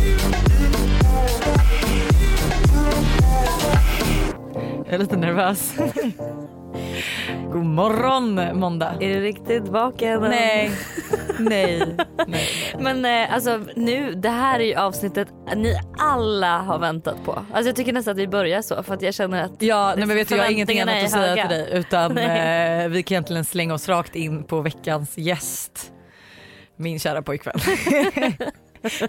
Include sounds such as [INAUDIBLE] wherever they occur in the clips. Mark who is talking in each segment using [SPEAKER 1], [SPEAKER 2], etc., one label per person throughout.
[SPEAKER 1] [LAUGHS]
[SPEAKER 2] nervös. God morgon måndag.
[SPEAKER 1] Är du riktigt vaken?
[SPEAKER 2] Nej. Nej. Nej.
[SPEAKER 1] Men eh, alltså nu, det här är ju avsnittet ni alla har väntat på. Alltså jag tycker nästan att vi börjar så för att jag känner att
[SPEAKER 2] Ja, nej, men vet du, jag har ingenting annat
[SPEAKER 1] Förväntningarna
[SPEAKER 2] att
[SPEAKER 1] är
[SPEAKER 2] säga
[SPEAKER 1] höga.
[SPEAKER 2] till dig
[SPEAKER 1] [LAUGHS]
[SPEAKER 2] utan eh, vi kan egentligen slänga oss rakt in på veckans gäst. Min kära
[SPEAKER 1] [LAUGHS]
[SPEAKER 2] pojkvän.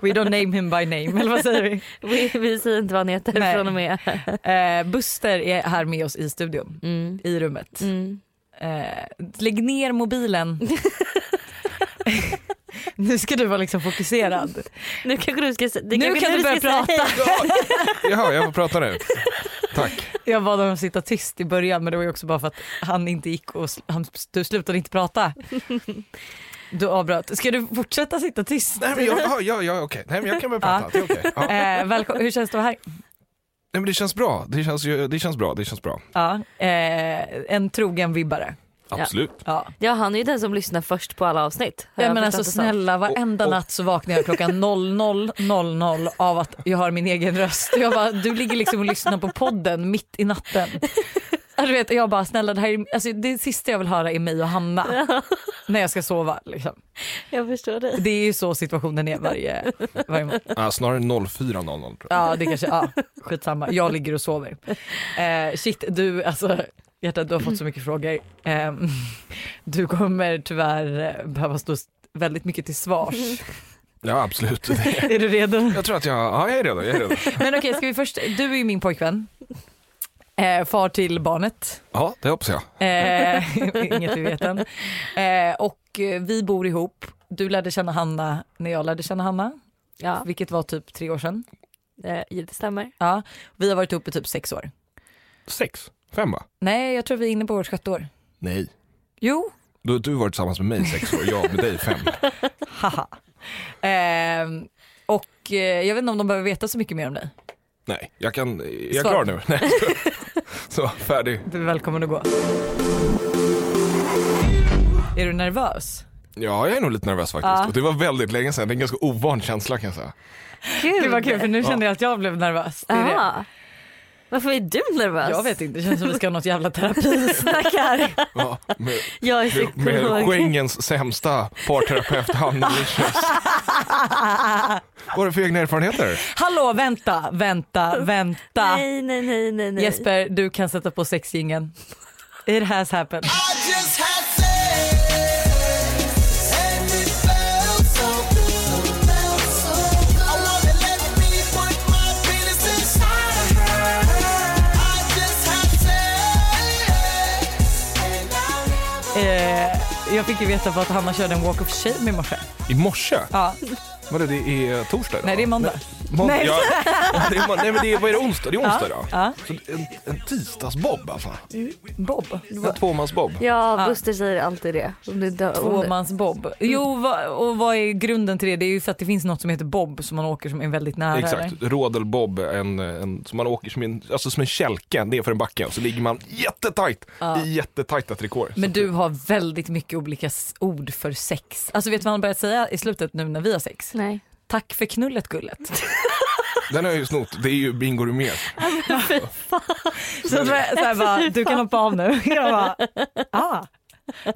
[SPEAKER 2] We don't name him by name, eller vad säger vi?
[SPEAKER 1] [LAUGHS] vi, vi säger inte vad han heter
[SPEAKER 2] Nej.
[SPEAKER 1] från och med.
[SPEAKER 2] Eh, Buster är här med oss i studion,
[SPEAKER 1] Mm.
[SPEAKER 2] i rummet.
[SPEAKER 1] Mm.
[SPEAKER 2] Eh, lägg ner
[SPEAKER 1] [LAUGHS]
[SPEAKER 2] mobilen. [LAUGHS] nu ska du vara liksom fokuserad.
[SPEAKER 1] Nu kanske du ska, se- det
[SPEAKER 2] Nu
[SPEAKER 1] kanske
[SPEAKER 2] kan du börja
[SPEAKER 1] säga hej.
[SPEAKER 3] Jaha, jag får prata nu. Tack.
[SPEAKER 2] Jag bad honom sitta tyst i början men det var ju också bara för att han inte gick och sl- han, du slutade inte
[SPEAKER 3] [LAUGHS]
[SPEAKER 2] prata. Du avbröt. Ska du fortsätta sitta tyst?
[SPEAKER 3] Nej men jag, ja, ja, ja, okej. Nej, men jag kan börja prata. Det, är okej. ja. Nej,
[SPEAKER 2] Eh, välko- hur känns det att vara här?
[SPEAKER 3] men det känns bra. Det känns, ju- det känns bra. Det känns bra.
[SPEAKER 2] Ja, eh, en trogen vibbare.
[SPEAKER 3] Absolut.
[SPEAKER 2] Ja.
[SPEAKER 1] Ja han är ju den som lyssnar först på alla avsnitt. har
[SPEAKER 2] Ja, men
[SPEAKER 1] förstått
[SPEAKER 2] alltså
[SPEAKER 1] det som.
[SPEAKER 2] snälla varenda
[SPEAKER 3] Och- och-
[SPEAKER 2] natt så vaknar jag [LAUGHS] klockan 00.00 av att jag har min egen röst. Jag bara, du ligger liksom och lyssnar på podden mitt i natten. Ja, Du vet, jag bara snälla det här är, alltså, det sista jag vill höra är mig och Hanna när jag ska sova. Liksom.
[SPEAKER 1] Jag förstår dig.
[SPEAKER 2] Det är ju så situationen är varje, varje morgon.
[SPEAKER 3] Ja, snarare 0400. tror jag.
[SPEAKER 2] Ja, det kanske, ja, skitsamma. Jag ligger och sover. Eh, shit, du, alltså, hjärtat, du har fått så mycket frågor. Eh, du kommer tyvärr eh, behöva stå s- väldigt mycket till svars.
[SPEAKER 3] Ja, absolut.
[SPEAKER 2] Är du redo?
[SPEAKER 3] Jag tror att jag, ja, jag är redo. Jag är redo.
[SPEAKER 2] Men okej, ska vi först, du är ju min pojkvän. Eh, far till barnet.
[SPEAKER 3] Ja, det hoppas jag.
[SPEAKER 2] Eh, inget vi vet än. Eh, och eh, vi bor ihop. Du lärde känna Hanna när jag lärde känna Hanna,
[SPEAKER 1] Ja,
[SPEAKER 2] vilket var typ tre år sedan.
[SPEAKER 1] eh, det stämmer.
[SPEAKER 2] Ja, vi har varit ihop i typ sex år.
[SPEAKER 3] Sex? Fem va?
[SPEAKER 2] Nej, jag tror vi är inne på vårt sjätte år.
[SPEAKER 3] Nej.
[SPEAKER 2] Jo,
[SPEAKER 3] Du, du har varit tillsammans med mig i sex år, jag med dig i fem.
[SPEAKER 2] haha. [LAUGHS] Ehm, och eh, jag vet inte om de behöver veta så mycket mer om dig.
[SPEAKER 3] Nej, jag kan, är jag
[SPEAKER 2] Svar.
[SPEAKER 3] klar nu? Nej. Så, färdig.
[SPEAKER 2] Du är välkommen att gå. Är du nervös?
[SPEAKER 3] Ja, jag är nog lite nervös faktiskt.
[SPEAKER 2] Ja.
[SPEAKER 3] Och Det var väldigt länge sedan, det är en ganska ovan känsla kan jag säga.
[SPEAKER 2] Det var kul för nu kände jag att jag blev nervös. Det är det.
[SPEAKER 1] Aha. Varför är du nervös?
[SPEAKER 2] Jag vet inte, det känns som vi ska ha något jävla [LAUGHS] terapisnack här.
[SPEAKER 3] Ja, med,
[SPEAKER 1] Jag är
[SPEAKER 3] med, med
[SPEAKER 1] psykolog.
[SPEAKER 3] Schengens sämsta parterapeut Hanna Lyschers. Vad har du för egna erfarenheter?
[SPEAKER 2] Hallå, vänta, vänta, vänta.
[SPEAKER 1] Nej, nej, nej, nej, nej.
[SPEAKER 2] Jesper, du kan sätta på sexingen. It has happened.
[SPEAKER 4] I just had sex, and it felt so good, so felt so good. I wanna let me put my penis inside of her. I just had sex, and I'll never.
[SPEAKER 2] Eh, jag fick ju veta på att Hanna körde en walk of shame i morse.
[SPEAKER 3] I morse?
[SPEAKER 2] Ja.
[SPEAKER 3] Vadå, det är torsdag idag?
[SPEAKER 2] Nej, det är måndag.
[SPEAKER 3] Månd-
[SPEAKER 2] Nej.
[SPEAKER 3] Ja, ja, det är månd- Nej men det är, vad är det, onsdag? Det är onsdag idag.
[SPEAKER 2] Ja.
[SPEAKER 3] Så en, en tisdagsbob alltså.
[SPEAKER 2] Bob.
[SPEAKER 3] En tvåmansbob.
[SPEAKER 1] Ja, Buster säger alltid det. Om du inte, om du,
[SPEAKER 2] Tvåmans-Bob. Jo, va, och vad är grunden till det? Det är ju för att det finns något som heter Bob som man åker som är väldigt nära.
[SPEAKER 3] Exakt,
[SPEAKER 2] eller?
[SPEAKER 3] rådelbob, en, en, som man åker som en, alltså som en kälke ner för en backe och så ligger man jättetajt i jättetajta trikåer.
[SPEAKER 2] Men du har väldigt mycket olika s- ord för sex. Alltså vet du vad han börjat säga i slutet nu när vi har sex?
[SPEAKER 1] nej.
[SPEAKER 2] Tack för knullet gullet.
[SPEAKER 3] Den har jag ju snott, det är ju Bingo Rimér.
[SPEAKER 2] Så att jag så här bara, du kan hoppa av nu. [LAUGHS] Jag bara, ah,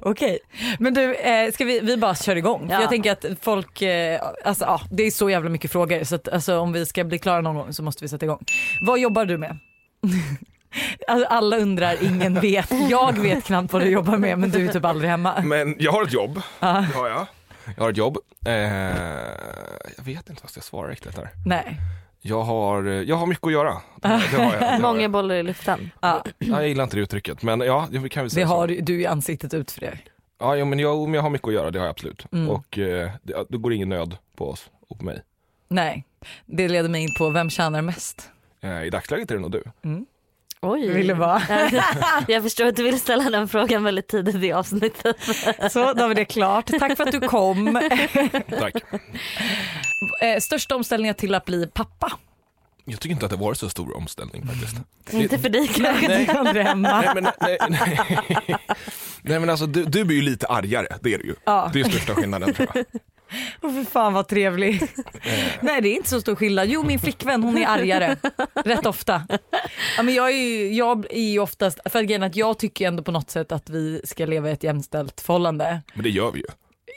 [SPEAKER 2] okej. Men du, eh, ska vi, vi bara kör igång?
[SPEAKER 1] Ja.
[SPEAKER 2] För jag tänker att folk, eh, alltså ja, det är så jävla mycket frågor så att alltså, om vi ska bli klara någon gång så måste vi sätta igång. Vad jobbar du med? [LAUGHS] Alltså, alla undrar, ingen vet. Jag vet knappt vad du jobbar med men du är typ aldrig hemma.
[SPEAKER 3] Men jag har
[SPEAKER 2] [LAUGHS]
[SPEAKER 3] ett jobb,
[SPEAKER 2] Ja.
[SPEAKER 3] det har jag. Jag har ett jobb. Eh, jag vet inte vad jag ska svara riktigt här.
[SPEAKER 2] Nej.
[SPEAKER 3] Jag har, eh, jag har mycket att göra. Det har jag. Det har jag.
[SPEAKER 1] Många bollar i luften.
[SPEAKER 2] Ja,
[SPEAKER 3] Ja, jag gillar inte det uttrycket, men ja, det kan vi
[SPEAKER 2] det
[SPEAKER 3] säga
[SPEAKER 2] har
[SPEAKER 3] så.
[SPEAKER 2] du- du i ansiktet ut för det.
[SPEAKER 3] Ja, jo, men jag, men jag har mycket att göra, det har jag absolut.
[SPEAKER 2] Mm.
[SPEAKER 3] Och eh, det, då går ingen nöd på oss och på mig.
[SPEAKER 2] Nej, det leder mig in på vem tjänar mest? Mm.
[SPEAKER 3] Eh, I dagsläget är det nog du.
[SPEAKER 1] Oj.
[SPEAKER 2] Vill du vara?
[SPEAKER 1] [LAUGHS] Jag förstår att du ville ställa den frågan väldigt tidigt i avsnittet.
[SPEAKER 2] Så, då har vi det klart. Tack för att du kom.
[SPEAKER 3] Tack.
[SPEAKER 2] Eh, största omställningen till att bli pappa?
[SPEAKER 3] Jag tycker inte att det var så stor
[SPEAKER 2] [LAUGHS]
[SPEAKER 3] omställning faktiskt.
[SPEAKER 1] Inte för dig kanske.
[SPEAKER 2] Nej. Aldrig hemma.
[SPEAKER 3] Nej men, nej, [LAUGHS] nej. nej, men alltså du, du blir ju lite argare, det är du ju.
[SPEAKER 2] Ja.
[SPEAKER 3] Det är ju största skillnaden tror jag.
[SPEAKER 2] Åh fy fan vad trevlig. Nej det är inte så stor skillnad. Jo min flickvän hon är argare rätt ofta. Ja, men jag är ju, jag är ju oftast, för grejen är att jag tycker ju ändå på något sätt att vi ska leva i ett jämställt förhållande.
[SPEAKER 3] Men det gör vi ju.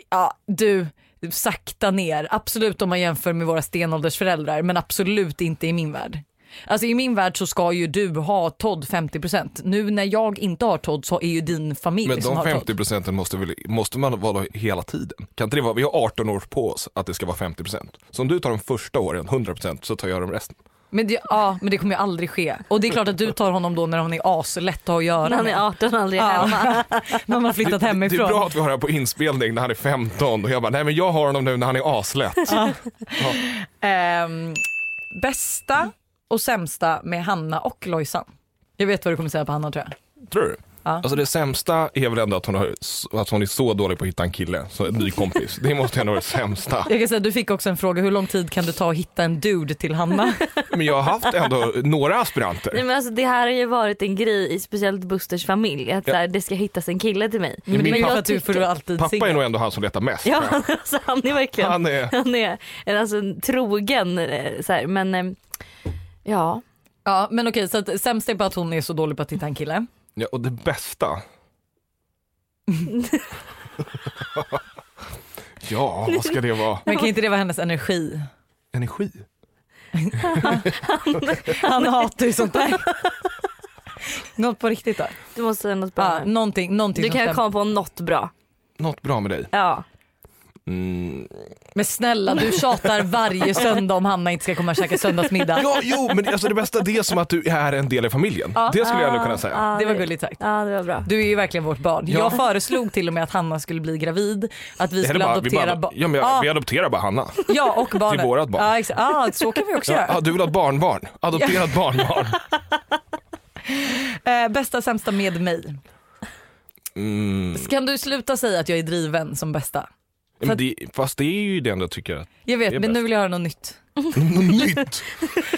[SPEAKER 2] Ja du, sakta ner. Absolut om man jämför med våra stenåldersföräldrar men absolut inte i min värld. Alltså i min värld så ska ju du ha Todd 50%. Nu när jag inte har Todd så är ju din familj
[SPEAKER 3] Men
[SPEAKER 2] som
[SPEAKER 3] de
[SPEAKER 2] har
[SPEAKER 3] 50
[SPEAKER 2] Todd.
[SPEAKER 3] procenten måste, väl, måste man vara hela tiden? Kan inte det vara, vi har 18 år på oss att det ska vara 50 procent. Så om du tar de första åren, 100 procent, så tar jag de resten.
[SPEAKER 2] Men det, ja, men det kommer ju aldrig ske. Och det är klart att du tar honom då när han är aslätt att ha att göra
[SPEAKER 1] När han
[SPEAKER 2] med.
[SPEAKER 1] är 18 och aldrig är
[SPEAKER 2] Ja.
[SPEAKER 1] hemma.
[SPEAKER 2] [LAUGHS] När man har flyttat
[SPEAKER 3] Det är
[SPEAKER 2] hemifrån.
[SPEAKER 3] bra att vi har det här på inspelning när han är 15 och jag bara, nej men jag har honom nu när han
[SPEAKER 2] [LAUGHS]
[SPEAKER 3] är aslätt.
[SPEAKER 2] Ehm, bästa och sämsta med Hanna och Lojsan. Jag vet vad du kommer säga på Hanna tror jag.
[SPEAKER 3] Tror du?
[SPEAKER 2] Ja.
[SPEAKER 3] Alltså det sämsta är väl ändå att hon, har, att hon är så dålig på att hitta en kille, så en ny kompis. Det måste ändå vara
[SPEAKER 2] [LAUGHS]
[SPEAKER 3] det sämsta.
[SPEAKER 2] Jag kan säga att du fick också en fråga, hur lång tid kan du ta att hitta en dude till Hanna?
[SPEAKER 3] Men jag har haft ändå några aspiranter.
[SPEAKER 1] Nej, men alltså, det här har ju varit en grej i speciellt Busters familj att
[SPEAKER 3] Ja.
[SPEAKER 1] så här, det ska hittas en kille till mig.
[SPEAKER 2] Men det är
[SPEAKER 3] min
[SPEAKER 2] ju
[SPEAKER 3] pappa-
[SPEAKER 2] för att du får du alltid
[SPEAKER 3] Pappa är
[SPEAKER 2] singel.
[SPEAKER 3] nog ändå han som letar mest. tror
[SPEAKER 1] [LAUGHS] Ja, så han är
[SPEAKER 3] jag.
[SPEAKER 1] verkligen
[SPEAKER 3] Han är,
[SPEAKER 1] han är en, alltså, en trogen eh, så här, men eh, ja.
[SPEAKER 2] Ja, men okej, så att, sämst är bara att hon är så dålig på att hitta en kille.
[SPEAKER 3] ja, och det bästa. ja, vad ska det vara?
[SPEAKER 2] Men kan inte det vara hennes energi?
[SPEAKER 3] Energi?
[SPEAKER 2] Han hatar ju sånt
[SPEAKER 1] [LAUGHS]
[SPEAKER 2] där. Något på riktigt då?
[SPEAKER 1] Du måste säga något bra.
[SPEAKER 2] Ja, någonting, någonting
[SPEAKER 1] du
[SPEAKER 2] som
[SPEAKER 1] kan
[SPEAKER 2] stämmer.
[SPEAKER 1] komma på något bra.
[SPEAKER 3] Något bra med dig?
[SPEAKER 1] Ja.
[SPEAKER 3] Mm.
[SPEAKER 2] Men snälla du tjatar
[SPEAKER 3] [LAUGHS]
[SPEAKER 2] varje söndag om Hanna inte ska komma och käka söndagsmiddag.
[SPEAKER 3] Ja, jo, men alltså det bästa det är som att du är en del i familjen. Det skulle jag ändå kunna säga.
[SPEAKER 1] Ja,
[SPEAKER 2] Det var gulligt sagt.
[SPEAKER 1] Ja, det var bra.
[SPEAKER 2] Du är ju verkligen vårt barn.
[SPEAKER 3] Ja.
[SPEAKER 2] Jag föreslog till och med att Hanna skulle bli gravid, att vi
[SPEAKER 3] Det här är
[SPEAKER 2] skulle
[SPEAKER 3] bara, vi,
[SPEAKER 2] adoptera
[SPEAKER 3] bara,
[SPEAKER 2] barn.
[SPEAKER 3] ja, men jag, vi adopterar bara Hanna.
[SPEAKER 2] ja, och barnet.
[SPEAKER 3] vårat barn.
[SPEAKER 2] Ja, exakt. ja, så kan vi också
[SPEAKER 3] Ja, ah,
[SPEAKER 2] göra.
[SPEAKER 3] du vill ha ett barnbarn? Adopterat barnbarn?
[SPEAKER 2] Eh, bästa sämsta med mig.
[SPEAKER 3] Mm.
[SPEAKER 2] Kan du sluta säga att jag är driven som bästa?
[SPEAKER 3] Men det, fast det är ju det enda jag tycker att
[SPEAKER 2] Jag
[SPEAKER 3] Det
[SPEAKER 2] vet,
[SPEAKER 3] är
[SPEAKER 2] men nu
[SPEAKER 3] bäst.
[SPEAKER 2] vill jag höra något nytt.
[SPEAKER 3] Något nytt!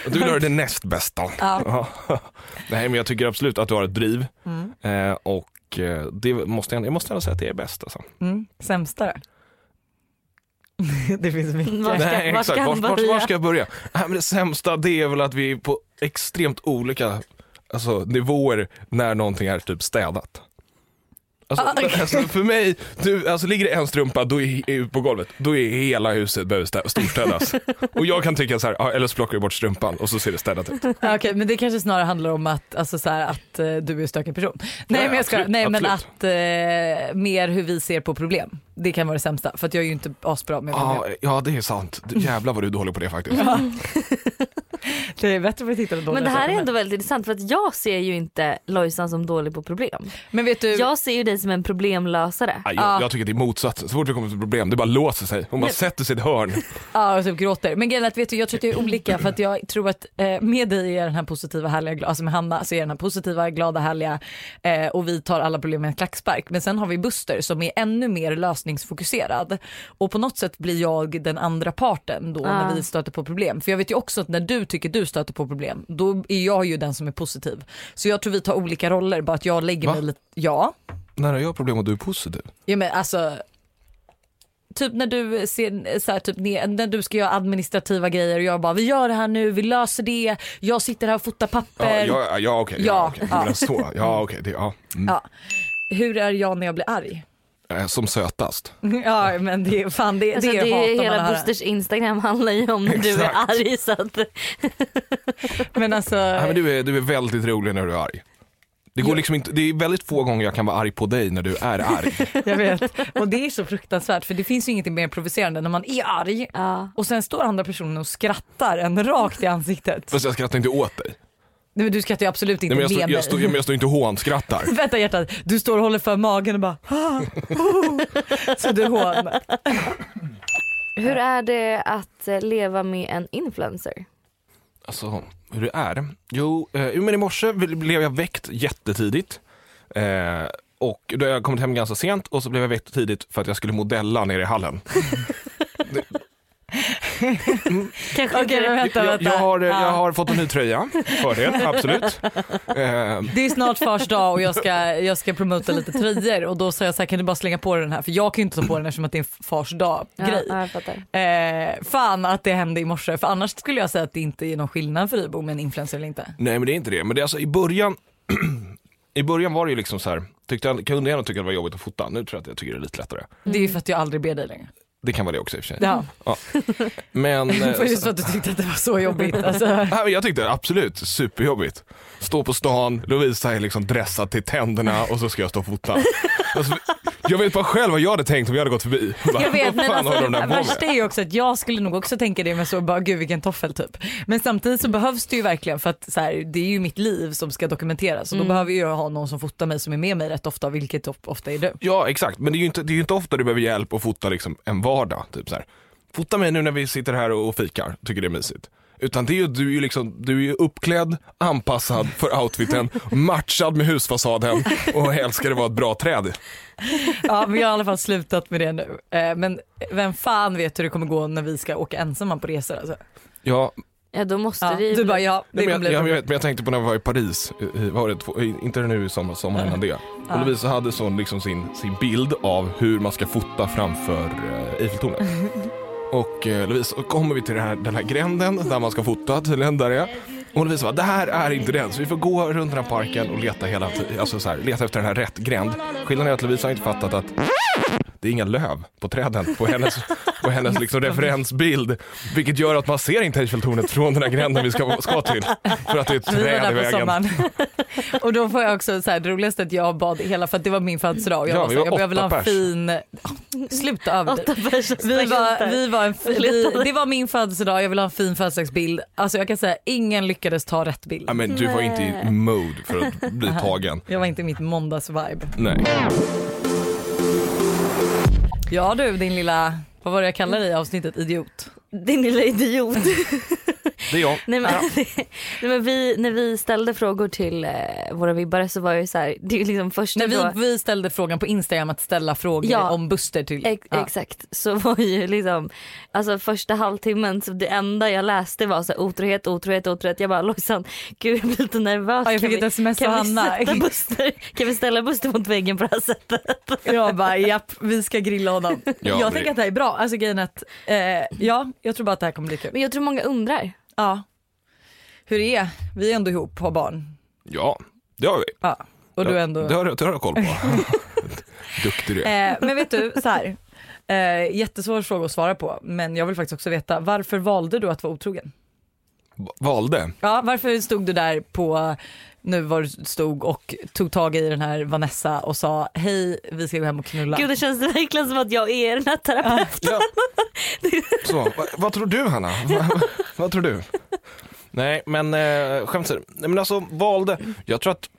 [SPEAKER 3] Du vill höra det näst bästa.
[SPEAKER 2] Ja.
[SPEAKER 3] Ja. [LAUGHS] Nej men jag tycker absolut att du har ett driv.
[SPEAKER 1] Mm.
[SPEAKER 3] Eh, och eh, det måste jag, jag måste ändå säga att det är bäst alltså.
[SPEAKER 2] Mm. Sämsta då? [LAUGHS] Det finns
[SPEAKER 1] Var
[SPEAKER 2] mycket.
[SPEAKER 1] ska- var
[SPEAKER 3] exakt.
[SPEAKER 1] ska
[SPEAKER 3] Var,
[SPEAKER 1] jag
[SPEAKER 3] var, var
[SPEAKER 1] börja?
[SPEAKER 3] ska jag börja? Nej, men det sämsta det är väl att vi är på extremt olika alltså, nivåer när någonting är typ städat. Alltså,
[SPEAKER 1] Ah,
[SPEAKER 3] alltså, för mig, du, alltså ligger det en strumpa då är, är på golvet, då är hela huset behöver
[SPEAKER 1] [LAUGHS]
[SPEAKER 3] stä- storstädas. Och jag kan tycka så här, ja, eller så plockar vi bort strumpan och så ser det städat ut.
[SPEAKER 2] Ja, Okej, men det kanske snarare handlar om att, alltså, så här, att eh, du är en stökig person. Nej,
[SPEAKER 3] ja,
[SPEAKER 2] men, jag ska,
[SPEAKER 3] absolut,
[SPEAKER 2] nej men
[SPEAKER 3] absolut.
[SPEAKER 2] att eh, mer hur vi ser på problem. Det kan vara det sämsta, för att jag är ju inte asbra med problem.
[SPEAKER 3] Ja, ja det är sant. Du- Jävlar vad du är dålig på det faktiskt.
[SPEAKER 2] Mm. Det är bättre för tittarna då.
[SPEAKER 1] Men det här är ändå väldigt intressant för att jag ser ju inte Lojsan som dålig på problem.
[SPEAKER 2] Men vet du,
[SPEAKER 1] Jag ser ju dig som en problemlösare.
[SPEAKER 3] Nej, jag, jag tycker det är motsatsen. Så fort vi kommer till problem, det bara låser sig. Hon bara sätter sig i ett hörn.
[SPEAKER 2] ja och typ gråter. Men grejen är att vet du, jag tror att jag är olika för att jag tror att eh, med dig är jag den här positiva härliga, gla- alltså med Hanna så är jag den här positiva glada härliga eh, och vi tar alla problem med en klackspark. Men sen har vi Buster som är ännu mer lösningsfokuserad och på något sätt blir jag den andra parten då när vi stöter på problem. För jag vet ju också att när du tycker du stöter på problem då är jag ju den som är positiv. Så jag tror vi tar olika roller bara att jag lägger
[SPEAKER 3] Va?
[SPEAKER 2] mig lite, ja.
[SPEAKER 3] När har jag problem och du är positiv?
[SPEAKER 2] Ja men alltså Typ när du, ser, så här, typ, ne- när du ska göra administrativa grejer och jag bara vi gör det här nu, vi löser det, jag sitter här och fotar
[SPEAKER 3] Ja,
[SPEAKER 2] papper.
[SPEAKER 3] ja, ja okej.
[SPEAKER 2] Ja,
[SPEAKER 3] Ja, okej. Du
[SPEAKER 2] ja.
[SPEAKER 3] menar så. Ja, okej. det- Ja. Mm.
[SPEAKER 2] Ja. Hur är jag när jag blir arg? [LAUGHS]
[SPEAKER 3] Eh, Som sötast.
[SPEAKER 2] Ja men det är fan det,
[SPEAKER 1] Alltså,
[SPEAKER 2] det,
[SPEAKER 1] det är
[SPEAKER 2] hatar
[SPEAKER 1] ju
[SPEAKER 2] man
[SPEAKER 1] hela
[SPEAKER 2] att höra.
[SPEAKER 1] Busters instagram handlar ju om när du är
[SPEAKER 3] Exakt.
[SPEAKER 1] arg så att
[SPEAKER 2] [LAUGHS] Men alltså,
[SPEAKER 3] Nej, men du, är, du är väldigt rolig när du är arg. Det, går liksom inte, det är väldigt få gånger jag kan vara arg på dig när du
[SPEAKER 2] [LAUGHS]
[SPEAKER 3] är arg.
[SPEAKER 2] jag vet. Och det är så fruktansvärt för det finns ju ingenting mer provocerande när man är arg
[SPEAKER 1] ja.
[SPEAKER 2] och sen står andra personen och skrattar en rakt i ansiktet.
[SPEAKER 3] Fast jag skrattar inte åt dig.
[SPEAKER 2] Nej men du skrattar ju absolut inte
[SPEAKER 3] Nej,
[SPEAKER 2] med
[SPEAKER 3] men jag, står-
[SPEAKER 2] mig.
[SPEAKER 3] jag, står- men jag står inte och hånskrattar.
[SPEAKER 2] Vänta hjärtat, du står och håller för magen och bara ah, oh. Så du hånar.
[SPEAKER 1] Hur är det att eh, leva med en influencer?
[SPEAKER 3] Alltså, hur det är? Jo, eh, jo, men i morse bl- blev jag väckt jättetidigt. Eh, och då har jag kommit hem ganska sent och så blev jag väckt tidigt för att jag skulle modella nere i hallen.
[SPEAKER 2] Okej,
[SPEAKER 1] Kanske
[SPEAKER 2] men
[SPEAKER 1] inte
[SPEAKER 2] [LAUGHS]
[SPEAKER 1] det.
[SPEAKER 2] vänta,
[SPEAKER 3] Jag,
[SPEAKER 2] vänta.
[SPEAKER 3] jag, har, eh,
[SPEAKER 2] Ja.
[SPEAKER 3] jag har fått en ny tröja, fördel,
[SPEAKER 2] [LAUGHS]
[SPEAKER 3] absolut. Eh,
[SPEAKER 2] Det är snart fars dag och jag ska, jag ska promota lite tröjor och då sa jag så här kan du bara slänga på den här för jag kan ju inte ta på den eftersom att det är en fars dag grej.
[SPEAKER 1] Ja, ja, jag fattar.
[SPEAKER 2] Eh, fan att det hände i morse för annars skulle jag säga att det inte är någon skillnad för Ibo med en influencer eller inte.
[SPEAKER 3] nej men det är inte det. Men det är alltså i början, [CLEARS THROAT] i början var det ju liksom så här, tyckte jag, kunde jag nog tycka det var jobbigt att fota. Nu tror jag att jag tycker det är lite lättare.
[SPEAKER 2] Det
[SPEAKER 1] Mm.
[SPEAKER 2] är ju för att jag aldrig ber dig längre.
[SPEAKER 3] Det kan vara det också i och för sig.
[SPEAKER 2] [LAUGHS] Ja. [LAUGHS]
[SPEAKER 3] Men, eh,
[SPEAKER 2] För just för att du tyckte att det var så jobbigt. Alltså.
[SPEAKER 3] Nej, men jag tyckte absolut superjobbigt. Stå på stan, Lovisa är liksom dressad till tänderna och så ska jag stå och fota. Alltså, jag vet bara själv vad jag hade tänkt om jag hade gått förbi. Bara,
[SPEAKER 2] Jag vet
[SPEAKER 3] vad
[SPEAKER 2] men
[SPEAKER 3] fan
[SPEAKER 2] alltså,
[SPEAKER 3] håller de
[SPEAKER 2] det
[SPEAKER 3] där på
[SPEAKER 2] värsta
[SPEAKER 3] med?
[SPEAKER 2] är ju också att jag skulle nog också tänka det med så bara gud vilken toffel typ. Men samtidigt så behövs det ju verkligen för att så här, det är ju mitt liv som ska dokumenteras och då Mm. behöver ju jag ha någon som fotar mig som är med mig rätt ofta vilket of- ofta är du.
[SPEAKER 3] Ja exakt, men det är ju inte, det är ju inte ofta du behöver hjälp att fota liksom en vardag. Typ så här. Fota mig nu när vi sitter här och, och fikar, tycker det är mysigt. Utan det är ju, du, är ju liksom, du är ju uppklädd, anpassad för outfiten, matchad med husfasaden och helst ska det vara ett bra träd.
[SPEAKER 2] Ja men jag har i alla fall slutat med det nu. Eh, Men vem fan vet hur det kommer gå när vi ska åka ensamma på resor alltså.
[SPEAKER 3] Ja,
[SPEAKER 1] Ja, då måste
[SPEAKER 2] Ja,
[SPEAKER 1] det ju
[SPEAKER 2] du
[SPEAKER 1] bli-
[SPEAKER 2] bara ja det
[SPEAKER 3] Nej,
[SPEAKER 2] kommer
[SPEAKER 3] men
[SPEAKER 2] bli
[SPEAKER 3] jag, jag,
[SPEAKER 2] problem.
[SPEAKER 3] vet, men jag tänkte på när vi var i Paris, i- i- vad var det, två, i- inte nu i sommar, sommaren innan det. Och Lovisa hade sån, liksom sin, sin bild av hur man ska fota framför eh, Eiffeltornet. och eh, Lovisa, och kommer vi till den här, den här gränden där man ska fota tydligen, där det är. Och Lovisa bara, det här är inte den, så vi får gå runt den här parken och leta hela ti- alltså så här, leta efter den här rätt gränd. Skillnaden är att Lovisa har inte fattat att det är inga löv på träden på hennes, på hennes liksom referensbild. Vilket gör att man ser inte Eiffeltornet från den här gränden vi ska, ska till. För att det är ett
[SPEAKER 2] Vi var
[SPEAKER 3] träd i
[SPEAKER 2] där på
[SPEAKER 3] vägen.
[SPEAKER 2] sommaren. [LAUGHS] och då får jag också så här, det roligaste är att jag bad hela, för att det var min födelsedag och jag,
[SPEAKER 3] Ja,
[SPEAKER 2] var
[SPEAKER 3] vi
[SPEAKER 2] så, här,
[SPEAKER 3] var
[SPEAKER 2] jag, jag vill ha
[SPEAKER 3] åtta
[SPEAKER 2] en
[SPEAKER 3] pers.
[SPEAKER 2] fin, sluta överdriva.
[SPEAKER 1] Åtta personer
[SPEAKER 2] Vi var,
[SPEAKER 1] vi...
[SPEAKER 2] vi var en fi- vi, det var min födelsedag, jag vill ha en fin födelsedagsbild. Alltså jag kan säga ingen lyckades ta rätt bild.
[SPEAKER 3] Ja, men du var inte i mode för att bli tagen.
[SPEAKER 2] Jag var inte i mitt måndagsvibe.
[SPEAKER 3] Nej.
[SPEAKER 2] Ja du din lilla, vad var det jag kallade dig i avsnittet, idiot.
[SPEAKER 1] Din
[SPEAKER 2] [LAUGHS]
[SPEAKER 1] lilla idiot.
[SPEAKER 3] Det är jag.
[SPEAKER 1] Nej, men, nej, men vi, när vi ställde frågor till eh, våra vibbare så var ju så här, det är ju liksom första
[SPEAKER 2] När
[SPEAKER 1] då-
[SPEAKER 2] vi, vi ställde frågan på Instagram att ställa frågor
[SPEAKER 1] Ja.
[SPEAKER 2] om Buster till.
[SPEAKER 1] Ex-
[SPEAKER 2] Ja.
[SPEAKER 1] Exakt, så var ju liksom, alltså första halvtimmen så det enda jag läste var så här, otrohet, otrohet, otrohet. Jag bara Lojsan, gud jag blir lite nervös.
[SPEAKER 2] Ja, jag
[SPEAKER 1] Kan
[SPEAKER 2] fick
[SPEAKER 1] vi-
[SPEAKER 2] ett sms av
[SPEAKER 1] kan, vi
[SPEAKER 2] Hanna.
[SPEAKER 1] sätta Buster, kan vi ställa Buster mot väggen på det här sättet?
[SPEAKER 2] Jag bara japp, vi ska grilla honom. jag
[SPEAKER 3] det-
[SPEAKER 2] tänker att det här är bra. Alltså grejen är att, eh, ja jag tror bara att det här kommer bli kul.
[SPEAKER 1] Men jag tror många undrar.
[SPEAKER 2] Ja. Hur det är, vi är ändå ihop, har barn.
[SPEAKER 3] Ja, det har vi.
[SPEAKER 2] Ja. Och du är ändå...
[SPEAKER 3] Det har, jag- det har
[SPEAKER 2] [LAUGHS]
[SPEAKER 3] jag koll på. Duktig du är.
[SPEAKER 2] Eh, men vet du, så här. Eh, jättesvår fråga att svara på, men jag vill faktiskt också veta varför valde du att vara otrogen?
[SPEAKER 3] Va- Valde.
[SPEAKER 2] Ja, varför stod du där på nu var du stod och tog tag i den här Vanessa och sa hej vi ska gå hem och knulla.
[SPEAKER 1] Gud det känns det verkligen som att jag är den här terapeuten.
[SPEAKER 2] [LAUGHS]
[SPEAKER 3] Ja. Så, va, vad tror du Hanna? Va, va, vad tror du? Nej men eh, skämt åsido. Nej men alltså valde, jag tror att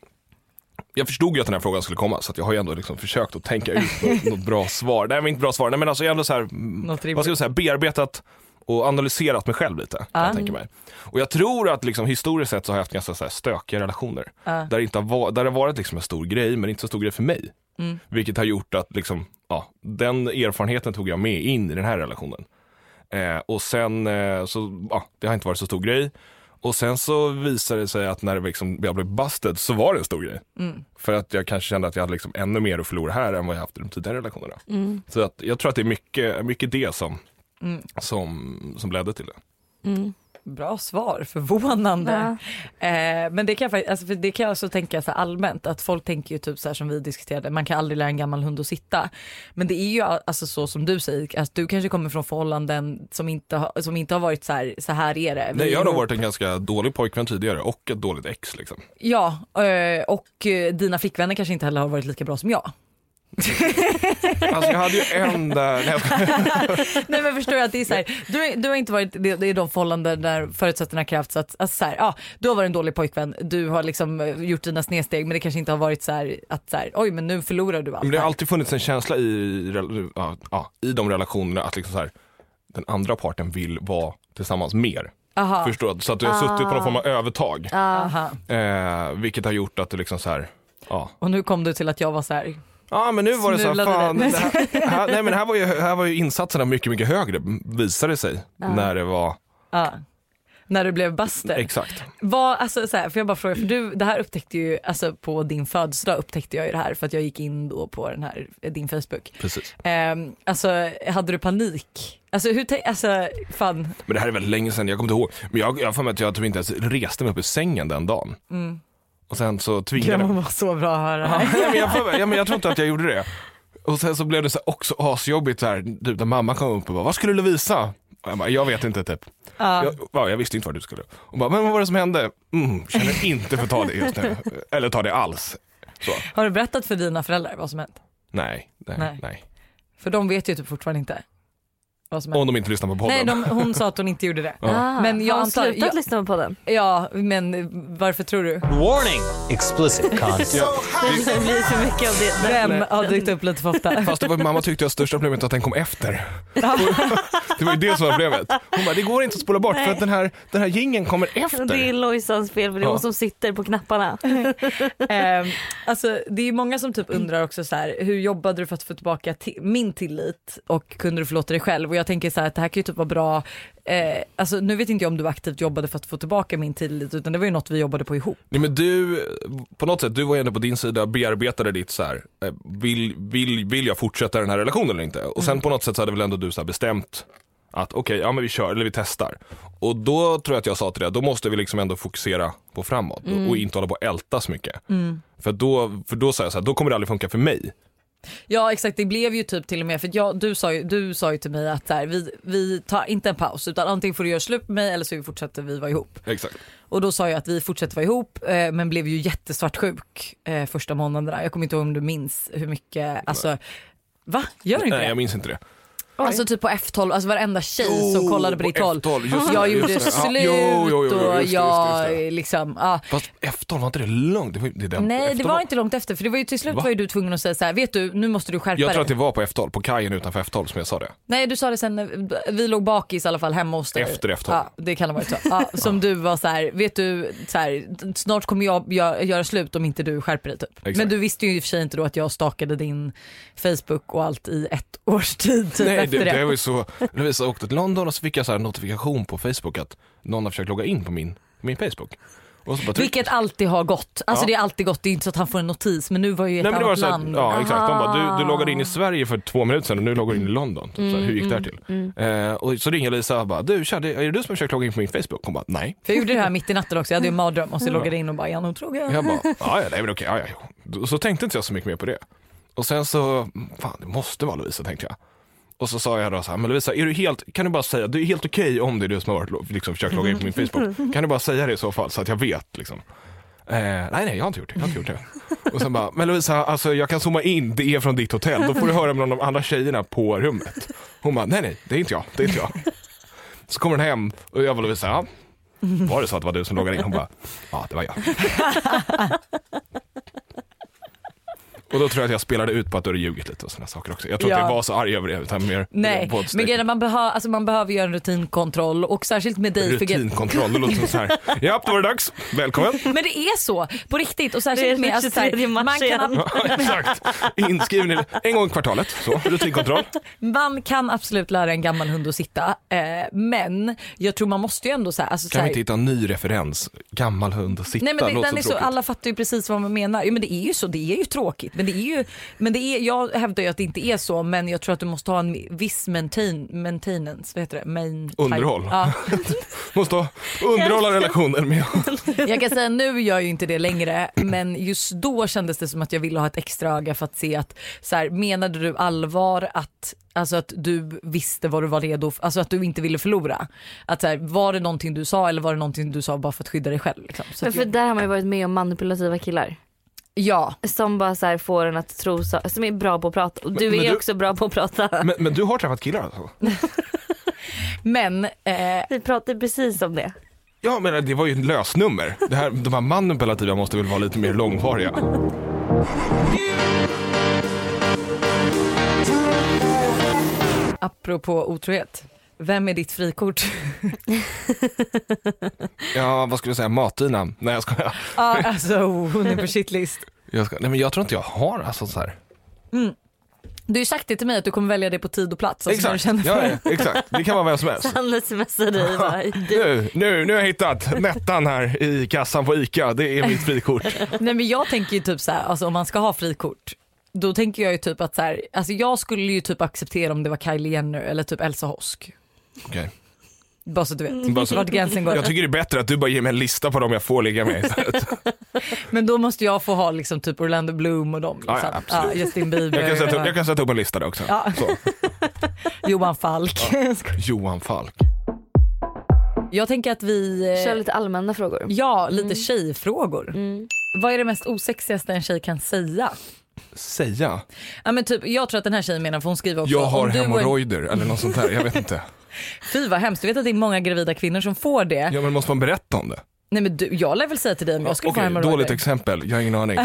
[SPEAKER 3] jag förstod ju att den här frågan skulle komma så att jag har ju ändå liksom försökt att tänka ut något, något bra svar. Nej men inte bra svar, nej men alltså jag har ändå så här, mm,
[SPEAKER 2] Något rimligt.
[SPEAKER 3] vad ska jag säga, bearbetat och analyserat mig själv lite. Kan
[SPEAKER 2] Ah.
[SPEAKER 3] jag tänka mig. Och jag tror att liksom, historiskt sett så har jag haft ganska så här stökiga relationer.
[SPEAKER 2] Ja.
[SPEAKER 3] Där, det inte har va- där det har varit liksom en stor grej men inte så stor grej för mig.
[SPEAKER 2] Mm.
[SPEAKER 3] Vilket har gjort att liksom, ja, den erfarenheten tog jag med in i den här relationen. Eh, och sen eh, så, ja, det har inte varit så stor grej. Och sen så visade det sig att när det liksom, jag blev busted så var det en stor grej.
[SPEAKER 2] Mm.
[SPEAKER 3] För att jag kanske kände att jag hade liksom ännu mer att förlora här än vad jag haft i de tidigare relationerna. Så att, jag tror att det är mycket, mycket det som,
[SPEAKER 2] Mm.
[SPEAKER 3] som, som ledde till det.
[SPEAKER 1] Mm.
[SPEAKER 2] Bra svar, förvånande.
[SPEAKER 1] Ja.
[SPEAKER 2] Eh, men det kan, jag, fakt- alltså, för det kan jag också tänka så här allmänt att folk tänker ju typ så här som vi diskuterade, man kan aldrig lära en gammal hund att sitta. Men det är ju a- alltså så som du säger, att du kanske kommer från förhållanden som inte, har- som inte har varit så här, så här är det. Vi
[SPEAKER 3] Nej, jag har
[SPEAKER 2] är
[SPEAKER 3] nog
[SPEAKER 2] ihop.
[SPEAKER 3] varit en ganska dålig pojkvän tidigare och ett dåligt ex liksom.
[SPEAKER 2] Ja, eh, och eh, dina flickvänner kanske inte heller har varit lika bra som jag.
[SPEAKER 3] Alltså jag hade ju en där, [LAUGHS] nej, jag skojar.
[SPEAKER 2] Nej men förstår jag att det är så här, du, du har inte varit, det, det är de förhållanden där förutsättningarna krävts att, alltså så här, ja, du har varit en dålig pojkvän, du har liksom eh, gjort dina snedsteg men det kanske inte har varit så här att så här, oj men nu förlorar du allt.
[SPEAKER 3] men det har
[SPEAKER 2] här.
[SPEAKER 3] alltid funnits en känsla i, rel- ja, ja, i de relationerna att liksom så här, den andra parten vill vara tillsammans mer.
[SPEAKER 2] Aha.
[SPEAKER 3] Förstår du? Så att du har suttit på någon form av övertag.
[SPEAKER 2] Aha.
[SPEAKER 3] Eh, vilket har gjort att du liksom så här, ja.
[SPEAKER 2] Och nu kom du till att jag var så här,
[SPEAKER 3] Ja men nu var det så här,
[SPEAKER 2] Smulade
[SPEAKER 3] fan,
[SPEAKER 2] det.
[SPEAKER 3] det här, här, nej men här var, ju, här var ju insatserna mycket, mycket högre visade det sig när det var,
[SPEAKER 2] Ja. När du blev baster.
[SPEAKER 3] exakt.
[SPEAKER 2] Vad, alltså, så här, för jag bara fråga, för du, det här upptäckte ju, alltså på din födelsedag upptäckte jag ju det här för att jag gick in då på den här, eh, din Facebook.
[SPEAKER 3] Precis.
[SPEAKER 2] Ehm, alltså hade du panik? Alltså hur, tänk- alltså fan,
[SPEAKER 3] Men det här är väldigt länge sedan, jag kommer inte ihåg. Men jag jag har för mig att jag typ inte ens reste mig upp ur sängen den dagen. Och sen så tvingade
[SPEAKER 2] det
[SPEAKER 3] jag
[SPEAKER 2] var så bra att höra.
[SPEAKER 3] Ja, nej, men jag, får- ja, men jag tror inte att jag gjorde det. Och sen så blev det så här också asjobbigt så här, typ när mamma kom upp och bara, vad skulle Lovisa? Och jag bara, jag vet inte typ. Jag, ja, jag visste inte vad du skulle. Och bara, men vad var det som hände? Mm, känner inte för att ta det just nu. Eller ta det alls. Så,
[SPEAKER 2] Har du berättat för dina föräldrar vad som hänt?
[SPEAKER 3] nej, nej,
[SPEAKER 2] Nej.
[SPEAKER 3] nej.
[SPEAKER 2] För de vet ju typ fortfarande inte vad som hänt.
[SPEAKER 3] Om de inte lyssnar på podden.
[SPEAKER 2] Nej, de, hon sa att hon inte
[SPEAKER 3] [LAUGHS]
[SPEAKER 2] gjorde det.
[SPEAKER 1] Ah,
[SPEAKER 2] Men jag
[SPEAKER 1] har hon
[SPEAKER 2] antar-
[SPEAKER 1] slutat
[SPEAKER 2] jag-
[SPEAKER 1] lyssna på den?
[SPEAKER 2] Ja, men varför tror du?
[SPEAKER 5] Warning! Explicit content.
[SPEAKER 1] [LAUGHS] Det blir för mycket av det.
[SPEAKER 2] Vem har dykt upp lite för
[SPEAKER 3] [LAUGHS]
[SPEAKER 2] ofta?
[SPEAKER 3] Fast det var, mamma tyckte att största problemet var att den kom efter. det var ju det som var problemet. Hon bara, det går inte att spola bort för att den här, den här gingen kommer efter.
[SPEAKER 1] Det är Lojsans fel för det är hon
[SPEAKER 3] Ja.
[SPEAKER 1] som sitter på knapparna.
[SPEAKER 2] [LAUGHS] Ehm, alltså, det är många som typ undrar också så här, hur jobbade du för att få tillbaka ti- min tillit och kunde du förlåta dig själv? Och jag tänker så här att det här kan ju typ vara bra, eh, alltså nu vet inte jag om du aktivt jobbade för att få tillbaka min tillit utan det var ju något vi jobbade på ihop.
[SPEAKER 3] Nej men du, på något sätt, du var ju ändå på din sida, bearbetade ditt så här, eh, vill, vill, vill jag fortsätta den här relationen eller inte? Och
[SPEAKER 2] Mm.
[SPEAKER 3] sen på något sätt så hade väl ändå du så här bestämt att okej, ja men vi kör, eller vi testar. Och då tror jag att jag sa till dig, då måste vi liksom ändå fokusera på framåt
[SPEAKER 2] Mm.
[SPEAKER 3] och inte hålla på och älta så mycket. För, då, för då sa jag så här, då kommer det aldrig funka för mig.
[SPEAKER 2] Ja exakt det blev ju typ till och med för jag, du, sa ju, du sa ju till mig att så här, vi, vi tar inte en paus utan antingen får du göra slut med mig eller så fortsätter vi vara ihop.
[SPEAKER 3] Exakt.
[SPEAKER 2] Och då sa jag att vi fortsätter vara ihop eh, men blev ju jättesvartsjuk eh, första månaderna. Jag kommer inte ihåg om du minns hur mycket, alltså va? Gör du inte
[SPEAKER 3] Nej
[SPEAKER 2] det?
[SPEAKER 3] jag minns inte det.
[SPEAKER 2] Alltså typ på F12, alltså varenda tjej som
[SPEAKER 3] Jo,
[SPEAKER 2] kollade på ditt
[SPEAKER 3] Oh, på
[SPEAKER 2] håll.
[SPEAKER 3] F12, just det,
[SPEAKER 2] jag gjorde
[SPEAKER 3] just det. Ja,
[SPEAKER 2] slut
[SPEAKER 3] jo, jo, jo, just det,
[SPEAKER 2] och
[SPEAKER 3] just det, just
[SPEAKER 2] jag
[SPEAKER 3] det.
[SPEAKER 2] liksom, ja.
[SPEAKER 3] Fast efter var inte det lugnt? Det var, ju- det är den,
[SPEAKER 2] Nej det
[SPEAKER 3] F12
[SPEAKER 2] var inte långt efter för det var ju till slut
[SPEAKER 3] Va?
[SPEAKER 2] var ju du tvungen att säga så här, vet du nu måste du skärpa
[SPEAKER 3] Jag
[SPEAKER 2] dig.
[SPEAKER 3] tror att det var på F12, på kajen utanför F12 som jag sa det.
[SPEAKER 2] Nej du sa det sen, när vi låg bakis i alla fall hemma hos dig.
[SPEAKER 3] Efter F12.
[SPEAKER 2] Ja, det kan ha varit så. Ja, som du var så här, vet du, så här, snart kommer jag gö- göra slut om inte du skärper dig typ.
[SPEAKER 3] Exakt.
[SPEAKER 2] Men du visste ju i och för sig inte då att jag stalkade din Facebook och allt i ett [LAUGHS] års tid typ
[SPEAKER 3] Nej,
[SPEAKER 2] efter
[SPEAKER 3] det,
[SPEAKER 2] det.
[SPEAKER 3] det var ju så. När vi så åkte till London och så fick jag så här en notifikation på Facebook att någon har försökt logga in på min, min Facebook. Och så bara typ- tryck-
[SPEAKER 2] Vilket alltid har gått. Alltså
[SPEAKER 3] Ja.
[SPEAKER 2] det är alltid gått, det är inte så att han får en notis men nu var ju ett
[SPEAKER 3] Nej, men det var
[SPEAKER 2] annat
[SPEAKER 3] så här,
[SPEAKER 2] land.
[SPEAKER 3] ja, exakt. De bara, du, du loggade in i Sverige för två minuter sedan och nu loggar du in i London. Typ,
[SPEAKER 2] Mm,
[SPEAKER 3] så här, hur gick det här till? Eh, och så ringer Lisa och bara, du, tja, det, är det du som har försökt logga in på min Facebook? Hon bara, nej.
[SPEAKER 2] För jag gjorde det här mitt i natten också, jag hade ju en mardröm och så loggade jag in och bara, är han otrogen?
[SPEAKER 3] Jag bara, ja, ja, nej men okej, ja, ja, jo. Och Så tänkte inte jag så mycket mer på det. Och sen så, fan det måste vara Lovisa tänkte jag. Och så sa jag då så här, men Lovisa, är du helt, kan du bara säga, du är helt okej om det är du som har varit, liksom, försökt logga in på min Facebook. Kan du bara säga det i så fall så att jag vet liksom. Eh, nej, nej, jag har inte gjort det. Jag har inte gjort det. Och sen bara, men Lovisa, alltså, jag kan zooma in, det är från ditt hotell. Då får du höra med de andra tjejerna på rummet. Hon bara, nej, nej, det är inte jag, det är inte jag. Så kommer hon hem och jag bara, Lovisa, ja, var det så att det var du som loggade in? Hon bara, ja, det var jag. Och då tror jag att jag spelade ut på att du hade ljugit lite och sådana saker också. Jag tror
[SPEAKER 2] Ja.
[SPEAKER 3] inte jag var så arg över det utan mer
[SPEAKER 2] Nej,
[SPEAKER 3] på ett
[SPEAKER 2] men grejen är, man, behö- alltså, man behöver göra en rutinkontroll och särskilt med dig. för grejen-
[SPEAKER 3] rutinkontroll. Det låter som så här, ja, då var det dags, välkommen.
[SPEAKER 2] Men det är så på riktigt och
[SPEAKER 1] Det
[SPEAKER 2] särskilt
[SPEAKER 1] är
[SPEAKER 2] med alltså, så här,
[SPEAKER 1] 23 mars
[SPEAKER 2] man, kan,
[SPEAKER 1] igen.
[SPEAKER 3] Ja, [LAUGHS] Exakt, inskriven i- en gång i kvartalet, så, rutinkontroll.
[SPEAKER 2] man kan absolut lära en gammal hund att sitta eh, men jag tror man måste ju ändå så här, alltså, så
[SPEAKER 3] Kan
[SPEAKER 2] här
[SPEAKER 3] vi inte hitta en ny referens? Gammal hund och sitta,
[SPEAKER 2] Nej men det,
[SPEAKER 3] låter
[SPEAKER 2] den är så,
[SPEAKER 3] tråkigt.
[SPEAKER 2] alla fattar ju precis vad man menar. Jo, men det är ju så, det är ju tråkigt. Men, det är ju, men det är, jag hävdar ju att det inte är så men jag tror att du måste ha en viss maintain, maintenance, vad heter det? Main,
[SPEAKER 3] Underhåll.
[SPEAKER 2] Ja.
[SPEAKER 3] Måste ha- underhålla
[SPEAKER 2] [LAUGHS]
[SPEAKER 3] relationen med
[SPEAKER 2] Jag kan säga nu gör jag ju inte det längre men just då kändes det som att jag ville ha ett extra öga för att se att så här, menade du allvar att, alltså att du visste vad du var redo för, alltså att du inte ville förlora? Att så här, var det någonting du sa eller var det någonting du sa bara för att skydda dig själv? Liksom? Så
[SPEAKER 1] Men
[SPEAKER 2] att
[SPEAKER 1] för
[SPEAKER 2] jag,
[SPEAKER 1] där har man ju varit med om manipulativa killar.
[SPEAKER 2] ja.
[SPEAKER 1] Som bara så här får en att tro så, som är bra på att prata. Och du
[SPEAKER 3] men
[SPEAKER 1] är
[SPEAKER 3] du-
[SPEAKER 1] också bra på att prata.
[SPEAKER 3] men, men du har träffat killar alltså?
[SPEAKER 2] Men eh,
[SPEAKER 1] [LAUGHS] Vi pratade precis om det.
[SPEAKER 3] Ja men det var ju ett lösnummer. Det här, de här manipulativa måste väl vara lite mer långvariga.
[SPEAKER 2] apropå otrohet, vem är ditt frikort?
[SPEAKER 3] Ja vad skulle jag säga, Matina? Nej jag skojar.
[SPEAKER 2] [LAUGHS] Ja, alltså oh, hon är på shitlist.
[SPEAKER 3] Jag, ska, nej, men jag tror inte jag har alltså, så här.
[SPEAKER 2] Du har ju sagt det till mig att du kommer välja det på tid och plats. Alltså när du
[SPEAKER 3] Exakt.
[SPEAKER 2] känner för
[SPEAKER 3] Ja,
[SPEAKER 2] det.
[SPEAKER 3] ja, exakt. Det kan vara vem som helst.
[SPEAKER 2] [LAUGHS]
[SPEAKER 1] Han smsar dig bara, du,
[SPEAKER 3] Nu, nu, nu har jag hittat Nettan här i kassan på ICA. Det är
[SPEAKER 2] [LAUGHS]
[SPEAKER 3] mitt frikort.
[SPEAKER 2] Nej men jag tänker ju typ så här, alltså om man ska ha frikort. Då tänker jag ju typ att så här, alltså jag skulle ju typ acceptera om det var Kylie Jenner eller typ Elsa Hosk.
[SPEAKER 3] Okej.
[SPEAKER 2] Bara så att du vet
[SPEAKER 3] Mm. Bara så-
[SPEAKER 2] vart gränsen går.
[SPEAKER 3] Jag tycker det är bättre att du bara ger mig en lista på dem jag får ligga
[SPEAKER 2] [LAUGHS]
[SPEAKER 3] med istället.
[SPEAKER 2] Men då måste jag få ha liksom typ Orlando Bloom och dem. Liksom.
[SPEAKER 3] Ja, ja, absolut.
[SPEAKER 2] Justin Bieber,
[SPEAKER 3] Jag kan sätta upp, jag kan sätta upp en lista där också.
[SPEAKER 2] Ja.
[SPEAKER 3] Så.
[SPEAKER 2] eh, Johan Falk.
[SPEAKER 3] [LAUGHS] Johan Falk.
[SPEAKER 2] Jag tänker att vi... eh,
[SPEAKER 1] [LAUGHS] kör lite Mm. allmänna frågor.
[SPEAKER 2] Ja, lite tjejfrågor. Vad är det mest osexigaste en tjej kan säga?
[SPEAKER 3] Säga.
[SPEAKER 2] Ja, men typ, jag tror att den här tjejen menar, för hon skriver också...
[SPEAKER 3] Jag har
[SPEAKER 2] om du och en-
[SPEAKER 3] hemorrojder eller något sånt där. Jag
[SPEAKER 2] [LAUGHS]
[SPEAKER 3] vet inte.
[SPEAKER 2] Fy vad hemskt, du vet att det är många gravida kvinnor som får det.
[SPEAKER 3] Ja, men måste man berätta om det?
[SPEAKER 2] Nej men du, jag lär väl säga till dig om jag skulle
[SPEAKER 3] Okej,
[SPEAKER 2] få hemorrojder.
[SPEAKER 3] dåligt exempel. Jag har
[SPEAKER 2] [LAUGHS]
[SPEAKER 3] ingen aning.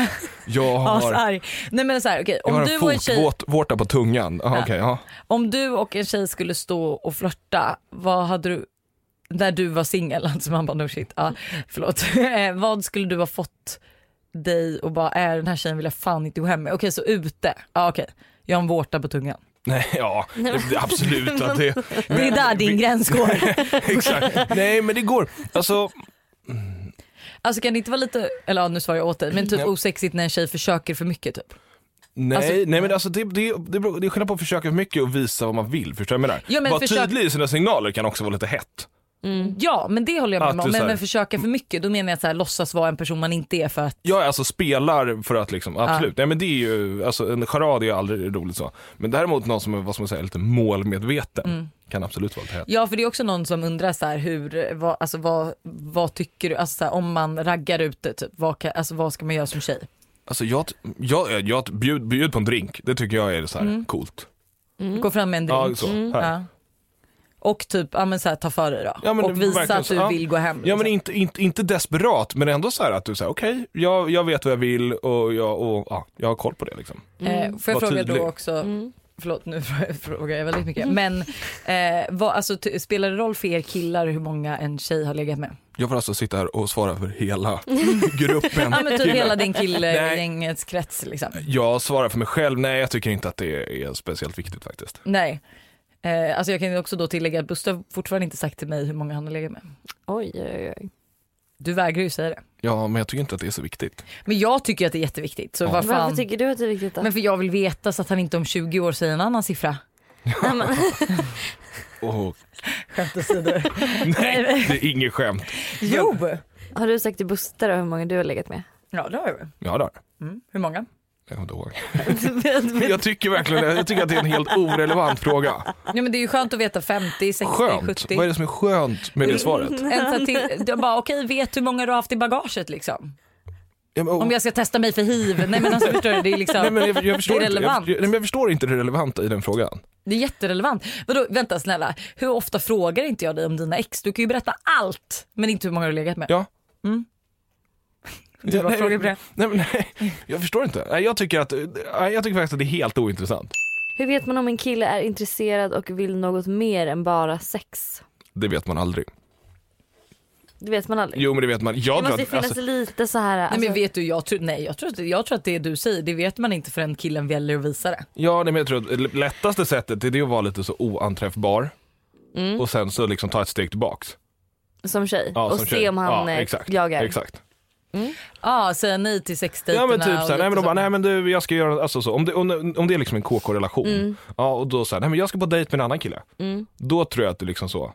[SPEAKER 3] Jag har,
[SPEAKER 2] Asarg. Nej men så här, okej.
[SPEAKER 3] jag
[SPEAKER 2] om,
[SPEAKER 3] har
[SPEAKER 2] du
[SPEAKER 3] en
[SPEAKER 2] och en tjej,
[SPEAKER 3] fotvårta på tungan. Aha, okej, ja.
[SPEAKER 2] om du och en tjej skulle stå och flörta, vad hade du, när du var singel, [LAUGHS] alltså man bara no shit, ja, förlåt. Eh, vad skulle du ha fått dig och bara, är den här tjejen vill jag fan inte gå hem med. Okej så ute, ja okej. Jag har en vårta på tungan.
[SPEAKER 3] Nej, ja, det- absolut att det...
[SPEAKER 2] [LAUGHS] Det är där din gräns går.
[SPEAKER 3] [LAUGHS] Exakt. Nej, men det går. Alltså,
[SPEAKER 2] Alltså kan det inte vara lite, eller ja, nu svarar jag åt dig, men typ
[SPEAKER 3] Nej.
[SPEAKER 2] osexigt när en tjej försöker för mycket typ.
[SPEAKER 3] Nej,
[SPEAKER 2] Alltså-
[SPEAKER 3] nej men alltså det, det, det, beror- det är skillnad på att försöka för mycket och visa vad man vill. Förstår du vad jag menar?
[SPEAKER 2] Ja, men
[SPEAKER 3] Vara
[SPEAKER 2] försök-
[SPEAKER 3] tydlig i sina signaler kan också vara lite hett.
[SPEAKER 2] Ja men det håller jag
[SPEAKER 3] Att
[SPEAKER 2] med om,
[SPEAKER 3] du typ så
[SPEAKER 2] men,
[SPEAKER 3] här-
[SPEAKER 2] men försöka för mycket då menar jag att så här, låtsas vara en person man inte är för att,
[SPEAKER 3] Jag är alltså spelar för att liksom, absolut. Nej men det är ju, alltså en charad är ju aldrig roligt så. Men däremot någon som är, vad ska man säga, lite målmedveten
[SPEAKER 2] Mm.
[SPEAKER 3] kan absolut vara lite hett.
[SPEAKER 2] ja för det är också någon som undrar så här hur, vad, alltså vad, vad tycker du, alltså så här, om man raggar ute typ, vad, kan, alltså, vad ska man göra som tjej?
[SPEAKER 3] Alltså jag, jag, jag, jag bjud, bjud på en drink, det tycker jag är så här
[SPEAKER 2] Mm.
[SPEAKER 3] coolt.
[SPEAKER 2] Gå fram med en
[SPEAKER 3] Ja,
[SPEAKER 2] drink.
[SPEAKER 3] så. Här.
[SPEAKER 2] Ja. Och typ, ja men så här, ta för dig då.
[SPEAKER 3] Ja, men
[SPEAKER 2] och
[SPEAKER 3] det-
[SPEAKER 2] visa
[SPEAKER 3] verkligen
[SPEAKER 2] att du
[SPEAKER 3] så. Ja.
[SPEAKER 2] vill gå hem.
[SPEAKER 3] Ja men
[SPEAKER 2] liksom.
[SPEAKER 3] inte, inte, inte desperat men ändå så här att du säger okej, jag, jag vet vad jag vill och jag, och, ja, jag har koll på det liksom.
[SPEAKER 2] eh, får jag
[SPEAKER 3] Var
[SPEAKER 2] fråga
[SPEAKER 3] tydlig. Mm.
[SPEAKER 2] då också,
[SPEAKER 1] Mm.
[SPEAKER 2] förlåt nu frågar jag [LAUGHS] väldigt mycket, men eh, vad, alltså, t- spelar det roll för er killar hur många en tjej har legat med?
[SPEAKER 3] Jag får alltså sitta här och svara för
[SPEAKER 2] [LAUGHS]
[SPEAKER 3] hela gruppen.
[SPEAKER 2] Ja men typ
[SPEAKER 3] killar.
[SPEAKER 2] hela din
[SPEAKER 3] Nej.
[SPEAKER 2] killegängets krets liksom.
[SPEAKER 3] Jag svarar för mig själv, nej jag tycker inte att det är speciellt viktigt faktiskt.
[SPEAKER 2] Nej. Eh, alltså jag kan ju också då tillägga att Buster fortfarande inte sagt till mig hur många han har legat med.
[SPEAKER 1] Oj, oj, oj.
[SPEAKER 2] Du vägrar ju säga det.
[SPEAKER 3] Ja, men jag tycker inte att det är så viktigt.
[SPEAKER 2] Men jag tycker ju att det är jätteviktigt. Så vad
[SPEAKER 1] Varför
[SPEAKER 2] fan.
[SPEAKER 1] tycker du att det är viktigt då?
[SPEAKER 2] Men för jag vill veta så att han inte om 20 år säger en annan siffra.
[SPEAKER 1] [LAUGHS] Nej, men, [LAUGHS]
[SPEAKER 3] Och,
[SPEAKER 2] [LAUGHS] Skämt åsido.
[SPEAKER 3] nej, det är inget skämt.
[SPEAKER 2] [LAUGHS] jo!
[SPEAKER 1] har du sagt till Buster då hur många du har legat med?
[SPEAKER 2] Ja det har jag väl.
[SPEAKER 3] Ja, där.
[SPEAKER 2] Mm. Hur
[SPEAKER 1] [LAUGHS]
[SPEAKER 2] många?
[SPEAKER 3] Jag kommer inte ihåg. Men jag tycker verkligen jag tycker att det är en helt orelevant fråga.
[SPEAKER 2] Ja, men det är ju skönt att veta 50, 60,
[SPEAKER 3] Skönt.
[SPEAKER 2] 70.
[SPEAKER 3] Vad är det som är skönt med det svaret?
[SPEAKER 2] En sån här till,
[SPEAKER 1] [LAUGHS]
[SPEAKER 2] jag bara okej, vet hur många du har haft i bagaget liksom.
[SPEAKER 3] Ja, men, och,
[SPEAKER 2] Om jag ska testa mig för hiv. Nej men alltså förstår du, det är liksom.
[SPEAKER 3] Oh. nej, men jag, jag,
[SPEAKER 2] [LAUGHS]
[SPEAKER 3] förstår
[SPEAKER 2] Det är
[SPEAKER 3] inte, jag,
[SPEAKER 2] relevant.
[SPEAKER 3] jag, nej, men jag förstår inte det relevanta i den frågan.
[SPEAKER 2] Det är jätterelevant. Vadå, vänta snälla, hur ofta frågar inte jag dig om dina ex? Du kan ju berätta allt, men inte hur många du har legat med.
[SPEAKER 3] Ja.
[SPEAKER 2] Mm. Du bara
[SPEAKER 3] nej,
[SPEAKER 2] frågar på det.
[SPEAKER 3] nej, men, nej, jag förstår inte. Nej, Jag tycker, att, nej, jag tycker faktiskt att det är helt ointressant.
[SPEAKER 1] Hur vet man om en kille är intresserad och vill något mer än bara sex?
[SPEAKER 3] Det vet man aldrig.
[SPEAKER 1] Det vet man aldrig.
[SPEAKER 3] Jo, men det vet man. Jag
[SPEAKER 1] det
[SPEAKER 3] tror
[SPEAKER 1] måste ju
[SPEAKER 3] att,
[SPEAKER 1] finnas
[SPEAKER 3] alltså,
[SPEAKER 1] lite så här... Alltså,
[SPEAKER 2] nej men vet du, jag tror, nej, jag, tror att, jag tror att det du säger, det vet man inte förrän killen väljer att visa det.
[SPEAKER 3] Ja, nej, men jag tror att l- lättaste sättet är det att vara lite så oanträffbar och sen så liksom ta ett steg tillbaks.
[SPEAKER 1] Mm. Som tjej.
[SPEAKER 3] Ja,
[SPEAKER 1] och
[SPEAKER 3] som
[SPEAKER 1] se
[SPEAKER 3] tjej.
[SPEAKER 1] om han
[SPEAKER 3] ja,
[SPEAKER 1] eh,
[SPEAKER 3] exakt,
[SPEAKER 1] jagar. Mm.
[SPEAKER 3] Exakt.
[SPEAKER 2] Ja, ah, säga nej till sexdejterna.
[SPEAKER 3] Ja men
[SPEAKER 2] och
[SPEAKER 3] typ såhär,
[SPEAKER 2] lite
[SPEAKER 3] nej men de bara,
[SPEAKER 2] så.
[SPEAKER 3] nej men du jag ska göra, alltså så, om det, om, om det är liksom en KK-relation,
[SPEAKER 1] Mm.
[SPEAKER 3] ja och då såhär, nej men jag ska på dejt med en annan kille. Då tror jag att det liksom så,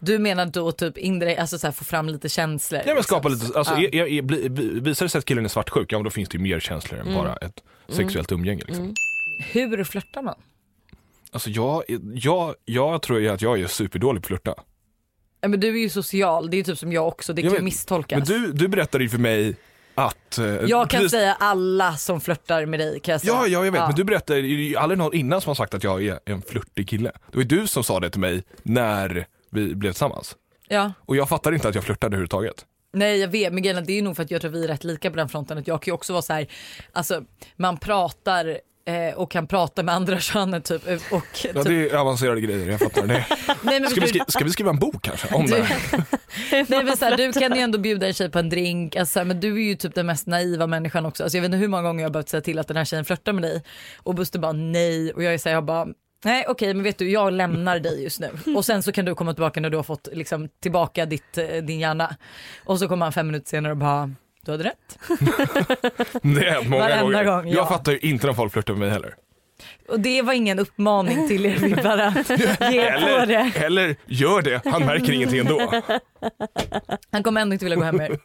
[SPEAKER 2] Du menar då typ indirekt, alltså så här, få fram lite känslor.
[SPEAKER 3] nej men
[SPEAKER 2] liksom.
[SPEAKER 3] skapa lite, alltså är, är, är, bli- bli- visar det sig att killen är svartsjuk, ja men då finns det ju mer känslor än bara ett sexuellt umgänge liksom.
[SPEAKER 2] Hur flörtar man?
[SPEAKER 3] Alltså jag, jag, jag tror ju att jag är superdålig på att flirta.
[SPEAKER 2] Ja, men du är ju social, det är ju typ som jag också, det
[SPEAKER 3] Jag
[SPEAKER 2] kan ju
[SPEAKER 3] vet.
[SPEAKER 2] misstolkas.
[SPEAKER 3] Men du, du berättade ju för mig att... eh,
[SPEAKER 2] jag kan
[SPEAKER 3] precis-
[SPEAKER 2] säga alla som flörtar med dig kan jag säga.
[SPEAKER 3] Ja, ja, jag vet. Men du berättade det är ju aldrig någon innan som har sagt att jag är en flörtig kille. Det var ju du som sa det till mig när vi blev tillsammans.
[SPEAKER 2] Ja.
[SPEAKER 3] Och jag fattade inte att jag flörtade överhuvudtaget.
[SPEAKER 2] Nej jag vet men grejen är att det är nog för att jag tror vi är rätt lika på den fronten att jag kan ju också vara så här, alltså man pratar eh, och kan prata med andra [LAUGHS] könet typ. Och, typ.
[SPEAKER 3] Ja, det är avancerade grejer, jag fattar det.
[SPEAKER 2] Nej, [LAUGHS] men
[SPEAKER 3] Ska vi,
[SPEAKER 2] du-
[SPEAKER 3] skriva, ska vi skriva en bok kanske? Om det här?
[SPEAKER 2] [LAUGHS] Nej, men så här, du kan ju ändå bjuda en tjej på en drink, alltså, så här, men du är ju typ den mest naiva människan också. Alltså, jag vet inte hur många gånger jag har behövt säga till att den här tjejen flörtar med dig och Buster bara nej och jag är så här, jag bara Nej okej men vet du jag lämnar dig just nu och sen så kan du komma tillbaka när du har fått liksom, tillbaka ditt, eh, din hjärna. Och så kommer han fem minuter senare och bara du hade rätt.
[SPEAKER 3] Det är många
[SPEAKER 2] Varenda
[SPEAKER 3] gånger.
[SPEAKER 2] gång, ja.
[SPEAKER 3] Jag fattar ju inte när folk flörtar med mig heller.
[SPEAKER 2] Och det var ingen uppmaning till er vibbare. Ge er på det.
[SPEAKER 3] Eller, eller gör det, han märker
[SPEAKER 2] [LAUGHS]
[SPEAKER 3] ingenting ändå.
[SPEAKER 2] Han kommer ändå inte vilja gå hem [LAUGHS] med er.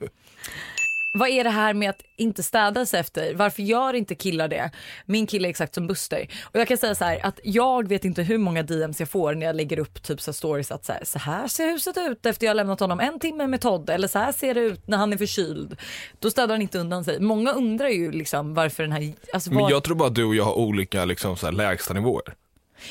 [SPEAKER 2] Vad är det här med att inte städa sig efter? Varför gör inte killar det? Min kille är exakt som Buster. Och jag kan säga så här att jag vet inte hur många DMs jag får när jag lägger upp typ så här stories att så här, så här ser huset ut efter jag har lämnat honom en timme med Todd eller så här ser det ut när han är förkyld. Då städar han inte undan sig. Många undrar ju liksom varför den här... Alltså
[SPEAKER 3] Men
[SPEAKER 2] var...
[SPEAKER 3] jag tror bara att du och jag har olika liksom, så här, lägsta nivåer.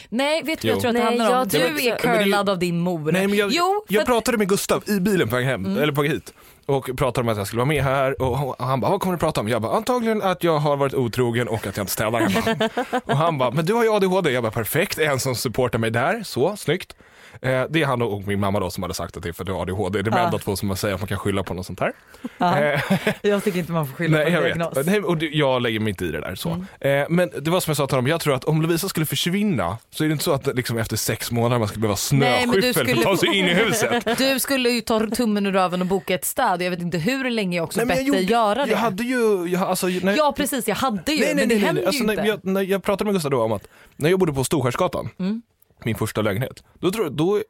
[SPEAKER 2] Nej, vet du vad jag
[SPEAKER 3] Jo.
[SPEAKER 2] tror att det
[SPEAKER 1] Nej,
[SPEAKER 2] handlar om?
[SPEAKER 1] jag
[SPEAKER 2] Du
[SPEAKER 1] tror-
[SPEAKER 2] är
[SPEAKER 3] men det är ju-
[SPEAKER 2] curlad av din mor.
[SPEAKER 3] Nej, men jag,
[SPEAKER 2] jo, för
[SPEAKER 3] jag
[SPEAKER 2] att- Mm.
[SPEAKER 3] pratade med Gustav i bilen på väg hem, eller på väg hit. Och pratade om att jag skulle vara med här och hon- han bara, vad kommer du prata om? Jag bara, antagligen att jag har varit otrogen och att jag inte städar hemma.
[SPEAKER 2] [LAUGHS]
[SPEAKER 3] och han bara, men du har ju ADHD. Jag bara, perfekt, en som supportar mig där, så, snyggt. Eh, det är han och min mamma då som hade sagt att det är för att du har ADHD. Det är de
[SPEAKER 2] Ja.
[SPEAKER 3] enda två som man säger att man kan skylla på något sånt här. Eh,
[SPEAKER 2] jag tycker inte man får skylla
[SPEAKER 3] Nej,
[SPEAKER 2] på
[SPEAKER 3] jag
[SPEAKER 2] en
[SPEAKER 3] vet.
[SPEAKER 2] diagnos. Mm.
[SPEAKER 3] Nej, och det- jag lägger mig inte i det där. Så. Eh, men det var som jag sa till honom, jag tror att om Lovisa skulle försvinna så är det inte så att liksom, efter sex månader man skulle behöva
[SPEAKER 2] Nej, men du
[SPEAKER 3] snöskyffel för
[SPEAKER 2] skulle-
[SPEAKER 3] att ta sig in i huset.
[SPEAKER 2] Du skulle ju ta tummen ur röven och boka ett städ. Jag vet inte hur länge jag också
[SPEAKER 3] Nej, men
[SPEAKER 2] bett dig göra det.
[SPEAKER 3] Jag hade ju, jag, alltså, ju- när,
[SPEAKER 2] Ja precis, jag hade ju.
[SPEAKER 3] nej, nej,
[SPEAKER 2] men det
[SPEAKER 3] nej, nej,
[SPEAKER 2] händer
[SPEAKER 3] nej. Alltså,
[SPEAKER 2] ju
[SPEAKER 3] när,
[SPEAKER 2] inte.
[SPEAKER 3] jag, när jag pratade med Gustav då om att när jag bodde på Storskärsgatan,
[SPEAKER 2] Mm.
[SPEAKER 3] min första lägenhet, då tror jag, då,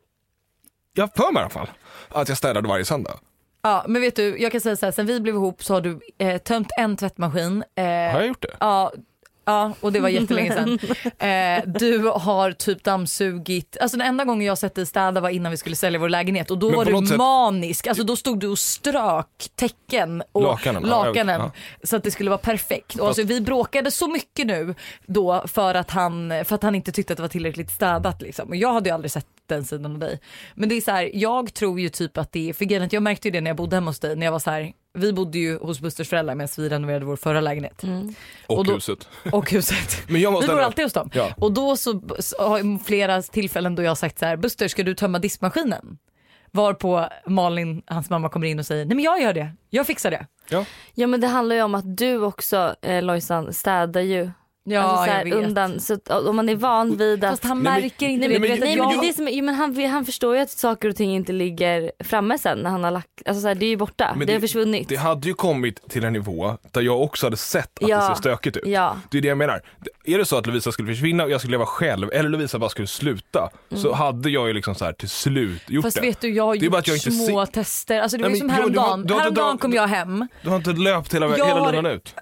[SPEAKER 3] jag har för mig i alla fall, att jag städade varje söndag.
[SPEAKER 2] Ja, men vet du, jag kan säga så här, sen vi blev ihop så har du eh, tömt en tvättmaskin. Eh,
[SPEAKER 3] Har jag gjort det?
[SPEAKER 2] ja, ja, och det var jättelänge
[SPEAKER 3] [LAUGHS]
[SPEAKER 2] sedan. Eh, du har typ dammsugit. Alltså den enda gången jag sett dig städa var innan vi skulle sälja vår lägenhet och då
[SPEAKER 3] Men
[SPEAKER 2] var
[SPEAKER 3] på
[SPEAKER 2] du
[SPEAKER 3] något sätt-
[SPEAKER 2] manisk. Alltså då stod du och strök täcken och
[SPEAKER 3] Lakanen, ja,
[SPEAKER 2] lakanen
[SPEAKER 3] ja.
[SPEAKER 2] så att det skulle vara perfekt. Och alltså, vi bråkade så mycket nu då för att han, för att han inte tyckte att det var tillräckligt städat. Liksom. Och jag hade ju aldrig sett den sidan av dig. Men det är så här, jag tror ju typ att det är, för grejen är att jag märkte ju det när jag bodde hemma hos dig, när jag var så här, vi bodde ju hos Busters föräldrar medan vi renoverade vår förra lägenhet.
[SPEAKER 3] Och,
[SPEAKER 2] och då-
[SPEAKER 3] huset.
[SPEAKER 2] Och huset.
[SPEAKER 3] Men jag
[SPEAKER 2] Vi
[SPEAKER 3] måste
[SPEAKER 2] bor alltid hos dem.
[SPEAKER 3] Ja.
[SPEAKER 2] Och då så, så har jag flera tillfällen då jag har sagt så här, Buster ska du tömma diskmaskinen? Varpå Malin, hans mamma, kommer in och säger, nej men jag gör det, jag fixar det.
[SPEAKER 3] Ja.
[SPEAKER 1] Ja men det handlar ju om att du också eh, Lojsan städar ju.
[SPEAKER 2] Ja,
[SPEAKER 1] alltså, så
[SPEAKER 2] jag
[SPEAKER 1] här,
[SPEAKER 2] vet.
[SPEAKER 1] undan, så att, om man är van vid att
[SPEAKER 2] Fast han
[SPEAKER 3] Nej, men-
[SPEAKER 2] märker inte
[SPEAKER 1] Nej, men,
[SPEAKER 2] det.
[SPEAKER 1] nej,
[SPEAKER 2] Du vet att
[SPEAKER 1] men,
[SPEAKER 2] jag-
[SPEAKER 1] det är det som, jo, men han, han förstår ju att saker och ting inte ligger framme sen när han har lagt, alltså så här, det är ju borta,
[SPEAKER 3] Men
[SPEAKER 1] det, har försvunnit.
[SPEAKER 3] Det hade ju kommit till en nivå där jag också hade sett att
[SPEAKER 1] Ja.
[SPEAKER 3] det ser stökigt ut.
[SPEAKER 1] Ja.
[SPEAKER 3] Det är det jag menar. Är det så att Lovisa skulle försvinna och jag skulle leva själv eller Lovisa bara skulle sluta så hade jag ju liksom så här till slut gjort
[SPEAKER 2] Mm. Fast
[SPEAKER 3] det.
[SPEAKER 2] vet du, jag har
[SPEAKER 3] Det är bara
[SPEAKER 2] gjort
[SPEAKER 3] att jag inte
[SPEAKER 2] små tester. Alltså det var
[SPEAKER 3] Nej,
[SPEAKER 2] ju som
[SPEAKER 3] men jag- du har-
[SPEAKER 2] häromdagen.
[SPEAKER 3] du har- du har-
[SPEAKER 2] häromdagen kom jag hem. [CLEARS THROAT]
[SPEAKER 3] Du har inte löpt hela,
[SPEAKER 2] Jag
[SPEAKER 3] hela
[SPEAKER 2] har-
[SPEAKER 3] linan ut.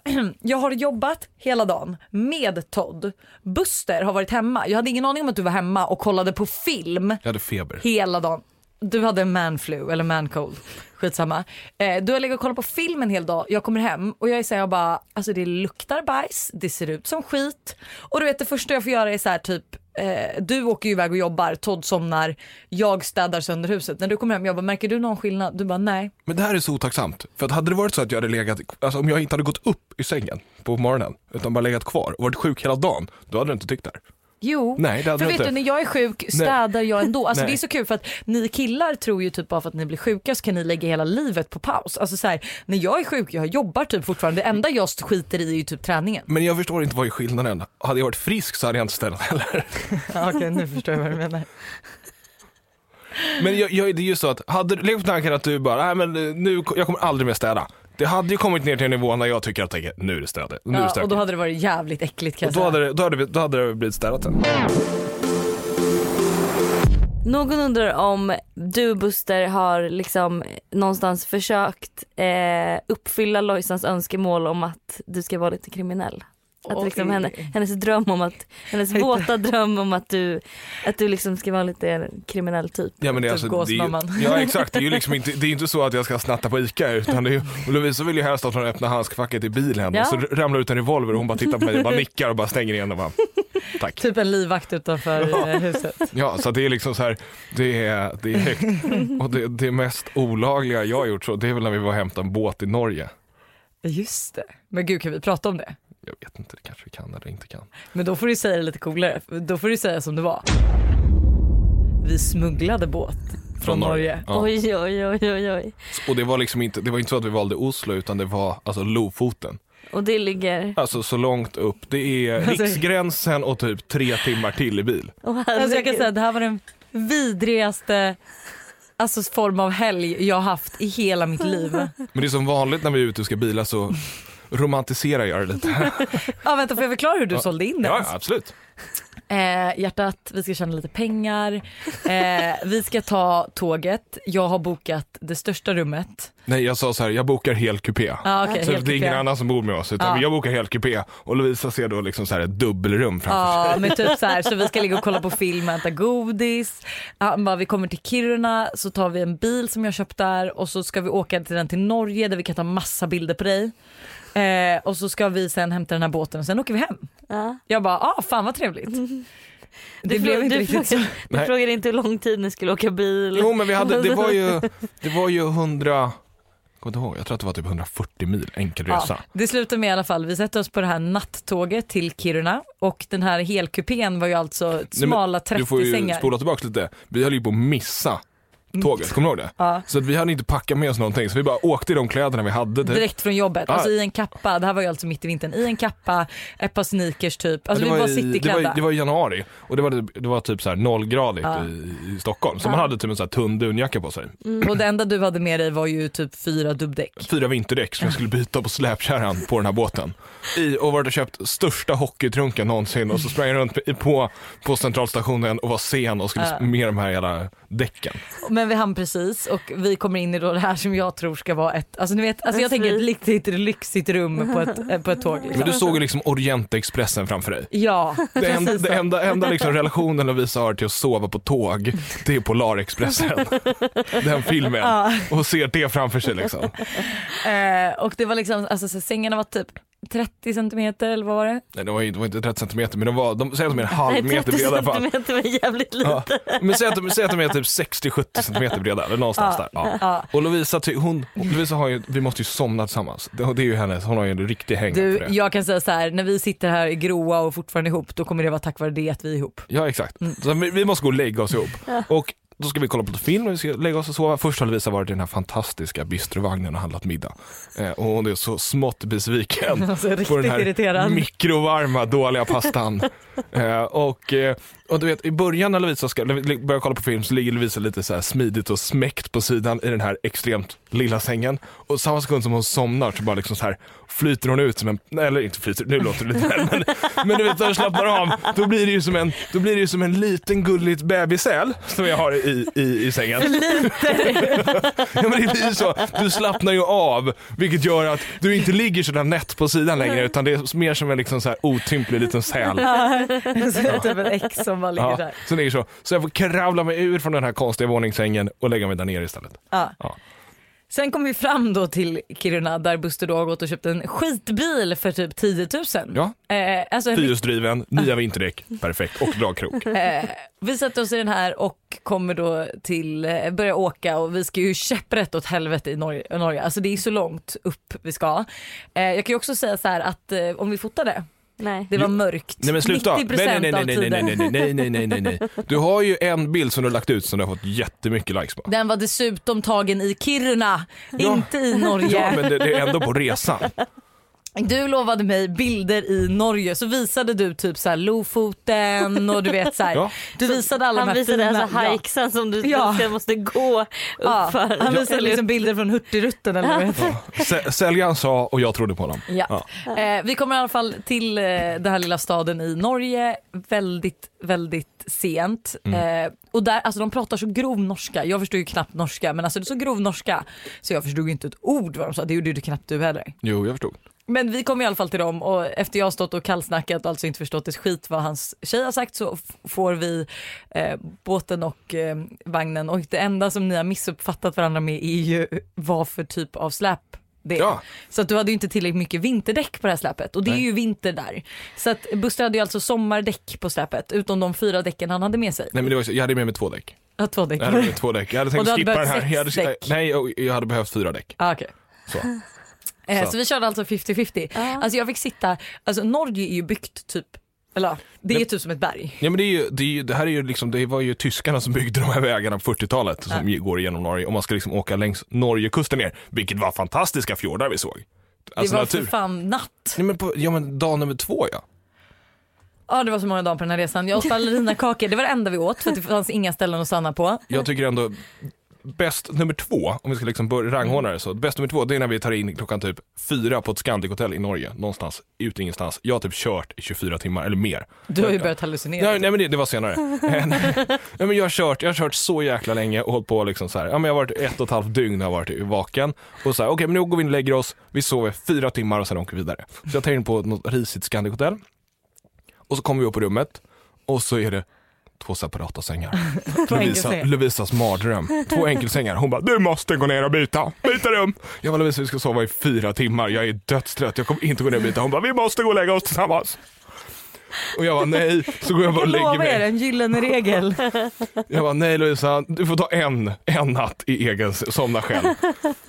[SPEAKER 2] Jag har jobbat hela dagen med Todd. Buster har varit hemma. Jag hade ingen aning om att du var hemma och kollade på film
[SPEAKER 3] Jag hade feber.
[SPEAKER 2] hela dagen. Du hade man flu eller man cold. Skitsamma. Eh, du har legat och kollat på film en hel dag. Jag kommer hem och jag är så här, jag bara, alltså det luktar bajs, det ser ut som skit. Och du vet det första jag får göra är så här typ, eh, du åker ju iväg och jobbar, Todd somnar, jag städar sönder huset. När du kommer hem jag bara, märker du någon skillnad? Du bara nej.
[SPEAKER 3] Men det här är så otacksamt. För att hade det varit så att jag hade legat, alltså om jag inte hade gått upp i sängen på morgonen utan bara legat kvar och varit sjuk hela dagen, då hade du inte tyckt det här.
[SPEAKER 2] Jo,
[SPEAKER 3] Nej, det hade
[SPEAKER 2] för
[SPEAKER 3] jag
[SPEAKER 2] vet
[SPEAKER 3] inte.
[SPEAKER 2] du när jag är sjuk städar jag ändå. Alltså,
[SPEAKER 3] Nej.
[SPEAKER 2] det är så kul för att ni killar tror ju typ bara för att ni blir sjuka så kan ni lägga hela livet på paus. Alltså så här, när jag är sjuk, jag jobbar typ fortfarande. Det enda jag skiter i är ju typ träningen.
[SPEAKER 3] Men jag förstår inte vad är skillnaden. Hade jag varit frisk så hade jag inte städat [LAUGHS] heller.
[SPEAKER 2] [LAUGHS] Ja, Okej, nu förstår jag vad du menar.
[SPEAKER 3] Men jag, jag, det är ju så att, hade du levt på tanken att du bara, nej men eh, nu, jag kommer aldrig mer städa. Det hade ju kommit ner till en nivå när jag tycker att tänker, nu är det städat, nu är det
[SPEAKER 2] Ja, och
[SPEAKER 3] stökigt.
[SPEAKER 2] då hade det varit jävligt äckligt kan
[SPEAKER 3] Och
[SPEAKER 2] jag säga.
[SPEAKER 3] då hade, det- då, hade, vi- då hade det blivit städat sen.
[SPEAKER 1] Någon undrar om du Buster har liksom någonstans försökt eh, uppfylla Lojsans önskemål om att du ska vara lite kriminell. Att
[SPEAKER 2] Oj.
[SPEAKER 1] liksom henne, hennes dröm om att, hennes våta dröm om att du, att du liksom ska vara lite kriminell typ.
[SPEAKER 3] Ja, men det, är
[SPEAKER 2] Typ
[SPEAKER 3] alltså, det är
[SPEAKER 2] gåsmamman.
[SPEAKER 3] ju, ja exakt, det är ju liksom inte, det är inte så att jag ska snatta på ICA utan det är ju, och Lovisa vill ju helst att hon öppnar handskfacket i bilen
[SPEAKER 1] Ja.
[SPEAKER 3] och så ramlar ut en revolver och hon bara tittar på mig och bara
[SPEAKER 2] [LAUGHS]
[SPEAKER 3] nickar och bara stänger igen och bara tack.
[SPEAKER 2] Typ en livvakt utanför eh, huset.
[SPEAKER 3] Ja så det är liksom så här, det är, det är högt. Och det, det mest olagliga jag har gjort så, det är väl när vi var och hämtade en båt i Norge.
[SPEAKER 2] Just det. Men gud kan vi prata om det?
[SPEAKER 3] Jag vet inte, det kanske vi kan eller inte kan.
[SPEAKER 2] Men då får du säga det lite coolare. Då får du säga som det var. Vi smugglade båt från, Norge.
[SPEAKER 3] Ja.
[SPEAKER 1] Oj, oj, oj, oj, oj.
[SPEAKER 3] Och det var liksom inte, det var inte så att vi valde Oslo utan det var alltså Lofoten.
[SPEAKER 1] Och det ligger...
[SPEAKER 3] Alltså så långt upp, det är
[SPEAKER 2] Alltså-
[SPEAKER 3] riksgränsen och typ tre timmar till i bil.
[SPEAKER 1] Åh,
[SPEAKER 2] Alltså jag kan
[SPEAKER 1] herregud.
[SPEAKER 2] säga att det här var den vidrigaste alltså, form av helg jag har haft i hela mitt liv.
[SPEAKER 3] Men det är som vanligt när vi är ute och ska bila så romantiserar jag det lite.
[SPEAKER 2] Ja, vänta, får jag förklara hur du
[SPEAKER 3] Ja.
[SPEAKER 2] sålde in den?
[SPEAKER 3] Ja, ja, absolut.
[SPEAKER 2] Eh, hjärtat, vi ska tjäna lite pengar. Eh, vi ska ta tåget. Jag har bokat det största rummet.
[SPEAKER 3] Nej, jag sa så här, jag bokar hel kupé.
[SPEAKER 2] Ah, okay,
[SPEAKER 3] Så det är ingen annan som bor med oss utan
[SPEAKER 2] Ja.
[SPEAKER 3] jag bokar hel kupé och Lovisa ser då liksom så här ett dubbelrum framför sig.
[SPEAKER 2] Ja, men typ så här, så vi ska ligga och kolla på film och äta godis. Han bara, vi kommer till Kiruna så tar vi en bil som jag köpt där och så ska vi åka till den till Norge där vi kan ta massa bilder på dig. Eh, och så ska vi sen hämta den här båten och sen åker vi hem.
[SPEAKER 1] Ja.
[SPEAKER 2] Jag bara, ah fan vad trevligt. [LAUGHS] Det
[SPEAKER 1] Du
[SPEAKER 2] blev
[SPEAKER 1] frå-
[SPEAKER 2] inte
[SPEAKER 1] du
[SPEAKER 2] riktigt så.
[SPEAKER 1] frågade- Du
[SPEAKER 3] Nej.
[SPEAKER 1] frågade inte hur lång tid ni skulle åka bil.
[SPEAKER 3] Jo men vi hade, det var ju, det var ju 100, jag kommer inte ihåg, jag tror att det var typ 140 mil enkel resa.
[SPEAKER 2] det slutar med i alla fall, vi sätter oss på det här nattåget till Kiruna och den här helkupén var ju alltså
[SPEAKER 3] men
[SPEAKER 2] smala
[SPEAKER 3] Du får
[SPEAKER 2] 30
[SPEAKER 3] ju
[SPEAKER 2] sängar.
[SPEAKER 3] spola tillbaka lite, vi höll ju på att missa tåget, kommer du ihåg det?
[SPEAKER 2] Ja.
[SPEAKER 3] Så att vi hade inte packat med oss någonting så vi bara åkte i de kläderna vi hade. Typ.
[SPEAKER 2] Direkt från jobbet,
[SPEAKER 3] Ja.
[SPEAKER 2] alltså i en kappa, det här var ju alltså mitt i vintern, i en kappa, ett par sneakers typ. Alltså
[SPEAKER 3] det,
[SPEAKER 2] vi var, bara
[SPEAKER 3] var i, det, var, i-
[SPEAKER 2] cityklädda.
[SPEAKER 3] det var i januari och det var, typ- det var typ så här nollgradigt i, i Stockholm så man hade typ en så här tunn dunjacka på sig.
[SPEAKER 2] Och det enda du hade med dig var ju typ fyra dubbdäck.
[SPEAKER 3] Fyra vinterdäck som jag skulle byta på släpkärran på den här båten. I, och varit och köpt största hockeytrunken någonsin och så sprang jag runt i- på, på centralstationen och var sen och skulle
[SPEAKER 2] Ja.
[SPEAKER 3] med de här jävla däcken.
[SPEAKER 2] Men vi hann precis och vi kommer in i då det här som jag tror ska vara ett, alltså ni vet, alltså jag tänker ett riktigt lyxigt rum på ett, eh, på ett tåg.
[SPEAKER 3] Men
[SPEAKER 2] Liksom.
[SPEAKER 3] du såg ju liksom Orientexpressen framför dig.
[SPEAKER 2] Ja,
[SPEAKER 3] Det
[SPEAKER 2] precis
[SPEAKER 3] enda,
[SPEAKER 2] så.
[SPEAKER 3] det enda, enda liksom relationen Lovisa har till att sova på tåg, det är Polarexpressen.
[SPEAKER 2] [LAUGHS]
[SPEAKER 3] Den filmen. Och ser det framför sig liksom.
[SPEAKER 2] Eh, och det var liksom, alltså så sängarna var typ 30 centimeter eller vad var det?
[SPEAKER 3] Nej, det var, ju- det var inte 30 centimeter, men de var, de, säg att de är en
[SPEAKER 1] [LAUGHS]
[SPEAKER 3] halv
[SPEAKER 1] Nej, 30
[SPEAKER 3] meter breda i
[SPEAKER 1] [LAUGHS]
[SPEAKER 3] alla fall.
[SPEAKER 1] centimeter var jävligt lite.
[SPEAKER 3] Ja. Men säg att, de, säg att de är typ 60-70 centimeter breda, eller någonstans där. Ja. Och Lovisa, ty- hon, Lovisa har ju, vi måste ju somna tillsammans. Det, det är ju hennes, hon har ju en riktig häng för
[SPEAKER 2] Du,
[SPEAKER 3] det.
[SPEAKER 2] jag kan säga så här, när vi sitter här gråa och fortfarande ihop då kommer det vara tack vare det att vi är
[SPEAKER 3] [LAUGHS]
[SPEAKER 2] ihop.
[SPEAKER 3] Ja exakt.
[SPEAKER 2] Mm.
[SPEAKER 3] Så vi, vi måste gå och lägga oss ihop. Och då ska vi kolla på lite film och vi ska lägga oss och sova. Först har Lovisa varit i den här fantastiska bistrovagnen och handlat middag. Eh, och hon är så smått besviken
[SPEAKER 2] [LAUGHS] Alltså
[SPEAKER 3] på
[SPEAKER 2] riktigt
[SPEAKER 3] den här
[SPEAKER 2] irriterad.
[SPEAKER 3] mikrovarma
[SPEAKER 2] [LAUGHS]
[SPEAKER 3] dåliga pastan. eh, och, eh, och du vet i början när Lovisa ska, när vi börjar kolla på film så ligger Lovisa lite så här smidigt och smäckt på sidan i den här extremt lilla sängen. Och samma sekund som hon somnar så bara liksom så här flyter hon ut som en, nej, eller inte flyter, nu låter det lite väl, men, men du vet när hon slappnar av då blir det ju som en, då blir det ju som en liten gulligt bebisäl som jag har i, i, i sängen. Ja, men det blir ju så. Du slappnar ju av vilket gör att du inte ligger sådär nätt på sidan längre utan det är mer som en liksom så här otymplig liten säl.
[SPEAKER 2] Så det är typ en ex som bara ligger
[SPEAKER 3] Ja,
[SPEAKER 2] där.
[SPEAKER 3] så, det är så. så jag får kravla mig ur från den här konstiga våningssängen och lägga mig där nere istället.
[SPEAKER 2] Ja.
[SPEAKER 3] Ja.
[SPEAKER 2] Sen kom vi fram då till Kiruna där Buster då har gått och köpt en skitbil för typ 10 000.
[SPEAKER 3] Ja.
[SPEAKER 2] Eh, alltså en
[SPEAKER 3] Fyrhjulsdriven, nya vinterdäck, perfekt och dragkrok.
[SPEAKER 2] Eh, vi sätter oss i den här och kommer då till, eh, börja åka och vi ska ju käpprätt åt helvete i Norge. Norge. Alltså det är så långt upp vi ska. Eh, jag kan ju också säga så här att eh, om vi fotade,
[SPEAKER 1] Nej.
[SPEAKER 2] det var mörkt.
[SPEAKER 3] Nej men sluta.
[SPEAKER 2] 90%
[SPEAKER 3] Nej nej nej
[SPEAKER 2] av
[SPEAKER 3] nej
[SPEAKER 2] tiden.
[SPEAKER 3] nej nej nej nej nej nej nej. Du har ju en bild som du har lagt ut som du har fått jättemycket likes på.
[SPEAKER 2] Den var dessutom tagen i Kiruna, inte i Norge.
[SPEAKER 3] Ja men det, det är ändå på resan.
[SPEAKER 2] Du lovade mig bilder i Norge så visade du typ så här Lofoten och du vet så här. [LAUGHS]
[SPEAKER 3] Ja.
[SPEAKER 2] Du visade alla
[SPEAKER 1] Han
[SPEAKER 2] de här
[SPEAKER 1] visade
[SPEAKER 2] fina-
[SPEAKER 1] alltså
[SPEAKER 2] Ja.
[SPEAKER 1] hikesen som du
[SPEAKER 2] Ja.
[SPEAKER 1] sen måste gå
[SPEAKER 2] Ja,
[SPEAKER 1] uppför.
[SPEAKER 2] han visade liksom bilder från Hurtigruten eller vad det heter.
[SPEAKER 3] Sä- Säljaren sa och jag trodde på honom.
[SPEAKER 2] Ja. Eh, vi kommer i alla fall till eh, den här lilla staden i Norge väldigt, väldigt sent. Eh, och där, alltså de pratar så grov norska. Jag förstod ju knappt norska men alltså det är så grov norska så jag förstod ju inte ett ord vad de sa. Det gjorde ju knappt du heller.
[SPEAKER 3] Jo jag förstod.
[SPEAKER 2] Men vi kom i alla fall till dem och efter jag har stått och kallsnackat och alltså inte förstått ett skit vad hans tjej har sagt så f- får vi eh, båten och eh, vagnen och det enda som ni har missuppfattat varandra med är ju vad för typ av släp det är.
[SPEAKER 3] Ja.
[SPEAKER 2] Så att du hade ju inte tillräckligt mycket vinterdäck på det här släpet och det är
[SPEAKER 3] Nej.
[SPEAKER 2] ju vinter där. Så att Buster hade ju alltså sommardäck på släpet utom de fyra däcken han hade med sig.
[SPEAKER 3] Nej men det var, ju så- jag hade med mig två däck.
[SPEAKER 2] Ja, två däck.
[SPEAKER 3] Jag
[SPEAKER 2] [LAUGHS]
[SPEAKER 3] hade med mig två däck. Jag hade
[SPEAKER 2] Och
[SPEAKER 3] tänkt
[SPEAKER 2] du hade
[SPEAKER 3] skippa den
[SPEAKER 2] behövt
[SPEAKER 3] här.
[SPEAKER 2] sex
[SPEAKER 3] Jag hade,
[SPEAKER 2] däck.
[SPEAKER 3] nej, jag- jag hade behövt fyra däck.
[SPEAKER 2] Ah, okej.
[SPEAKER 3] Så.
[SPEAKER 2] Ah, Eh,
[SPEAKER 3] Så.
[SPEAKER 2] så. vi körde alltså 50-50. Alltså jag fick sitta, alltså Norge är ju byggt typ, eller ja, det är
[SPEAKER 3] Men-
[SPEAKER 2] typ som ett berg.
[SPEAKER 3] Ja, men det, är ju, det, är ju, det här är ju liksom, det var ju tyskarna som byggde de här vägarna på 40-talet som går igenom Norge och man ska liksom åka längs Norgekusten ner, vilket var fantastiska fjordar vi såg. Alltså
[SPEAKER 2] det var
[SPEAKER 3] natur.
[SPEAKER 2] för fan natt.
[SPEAKER 3] Nej, men på, ja men dag nummer två ja.
[SPEAKER 2] Ja det var så många dagar på den här resan. Jag åt ballerinakakor, det var det enda vi åt för att det fanns inga ställen att stanna på.
[SPEAKER 3] Jag tycker ändå bäst nummer två, om vi ska liksom börja rangordna det så, bäst nummer två det är när vi tar in klockan typ fyra på ett Scandic hotell i Norge, någonstans, ut ingenstans. Jag har typ kört i 24 timmar eller mer.
[SPEAKER 2] Du har ju börjat hallucinera.
[SPEAKER 3] Nej, nej men det, det
[SPEAKER 2] [LAUGHS]
[SPEAKER 3] var senare. Eh, nej, men jag, har kört, jag har kört så jäkla länge och hållit på liksom så här. Ja, men jag har varit ett och ett halvt dygn har jag varit vaken. Och så här, okej men nu går vi in och lägger oss, vi sover fyra timmar och sen åker vi vidare. Så jag tar in på något risigt Scandic hotell. Och så kommer vi upp på rummet och så är det två
[SPEAKER 2] [LAUGHS]
[SPEAKER 3] separata sängar. Lovisa,
[SPEAKER 2] enkelsängar.
[SPEAKER 3] Lovisas mardröm.
[SPEAKER 2] [LAUGHS]
[SPEAKER 3] Två enkelsängar. Hon bara, du måste gå ner och byta. Byta rum. Jag bara, Lovisa vi ska sova i fyra timmar. Jag är dödstrött. Jag kommer inte gå ner och byta. Hon bara, vi måste gå och lägga oss tillsammans. Och jag bara, nej. Så går jag bara och
[SPEAKER 2] Jag
[SPEAKER 3] lägger
[SPEAKER 2] lovar er
[SPEAKER 3] mig.
[SPEAKER 2] en gyllene regel.
[SPEAKER 3] Jag bara, nej Lovisa, du får ta en, en natt i egen, somna [LAUGHS] själv.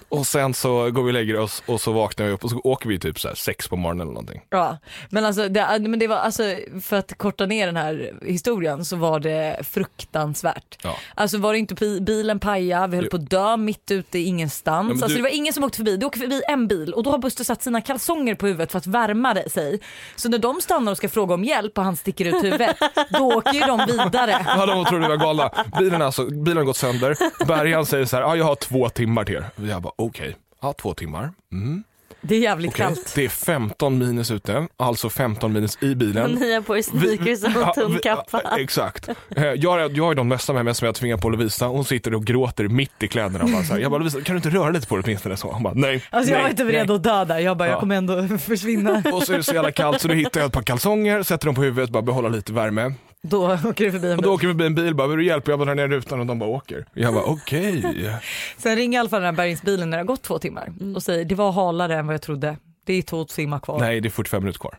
[SPEAKER 3] Och sen så går vi och lägger oss och så vaknar vi upp och så åker vi typ så här sex på morgonen eller någonting.
[SPEAKER 2] [LAUGHS] Ja, men alltså, det, men det var, alltså för att korta ner den här historien så var det fruktansvärt.
[SPEAKER 3] Ja.
[SPEAKER 2] Alltså var det inte pi- bilen paja, vi höll
[SPEAKER 3] Jo.
[SPEAKER 2] på att dö mitt ute i ingenstans.
[SPEAKER 3] Ja, men
[SPEAKER 2] alltså,
[SPEAKER 3] du-
[SPEAKER 2] Det var ingen som åkte förbi, det åker förbi en bil och då har Buster satt sina kalsonger på huvudet för att värma det- sig. Så när de stannar och ska fråga om hjälp och han sticker ut huvudet, då åker ju de vidare.
[SPEAKER 3] Ja, de tror du var galna. Bilen, alltså, bilen har gått sönder. Bärgaren säger så här, ah, jag har två timmar till er. Och Jag bara, okej. Ja, två timmar. Mm,
[SPEAKER 2] Det är jävligt
[SPEAKER 3] okej.
[SPEAKER 2] kallt.
[SPEAKER 3] Det är 15 minus ute, alltså 15 minus i
[SPEAKER 1] Och
[SPEAKER 3] [LAUGHS] bilen.
[SPEAKER 1] ni har på er sneakers och en
[SPEAKER 3] Ja,
[SPEAKER 1] tunn
[SPEAKER 3] vi- ja,
[SPEAKER 1] kappa.
[SPEAKER 3] Exakt. Eh, Jag har, jag har ju de mössa med mig som jag tvingar på Lovisa. Hon sitter och gråter mitt i kläderna. Och bara så här. Jag bara, Lovisa kan du inte röra lite på det åtminstone? Så hon bara, nej.
[SPEAKER 2] Alltså jag
[SPEAKER 3] nej,
[SPEAKER 2] var inte beredd
[SPEAKER 3] nej.
[SPEAKER 2] att dö där, jag bara
[SPEAKER 3] Ja.
[SPEAKER 2] jag kommer ändå [LAUGHS] försvinna.
[SPEAKER 3] [LAUGHS] Och så är det så jävla kallt så då hittar jag ett par kalsonger, sätter dem på huvudet, bara behålla lite värme.
[SPEAKER 2] Då åker det förbi en
[SPEAKER 3] Och
[SPEAKER 2] bil.
[SPEAKER 3] då åker vi förbi en bil, bara vill du hjälpa? Jag bara drar ner rutan och de bara åker. Jag bara okej.
[SPEAKER 2] Sen ringer i alla fall den här bärgningsbilen när det har gått två timmar
[SPEAKER 1] Mm.
[SPEAKER 2] och säger det var halare än vad jag trodde. Det är två timmar kvar.
[SPEAKER 3] Nej det är 45 minuter kvar.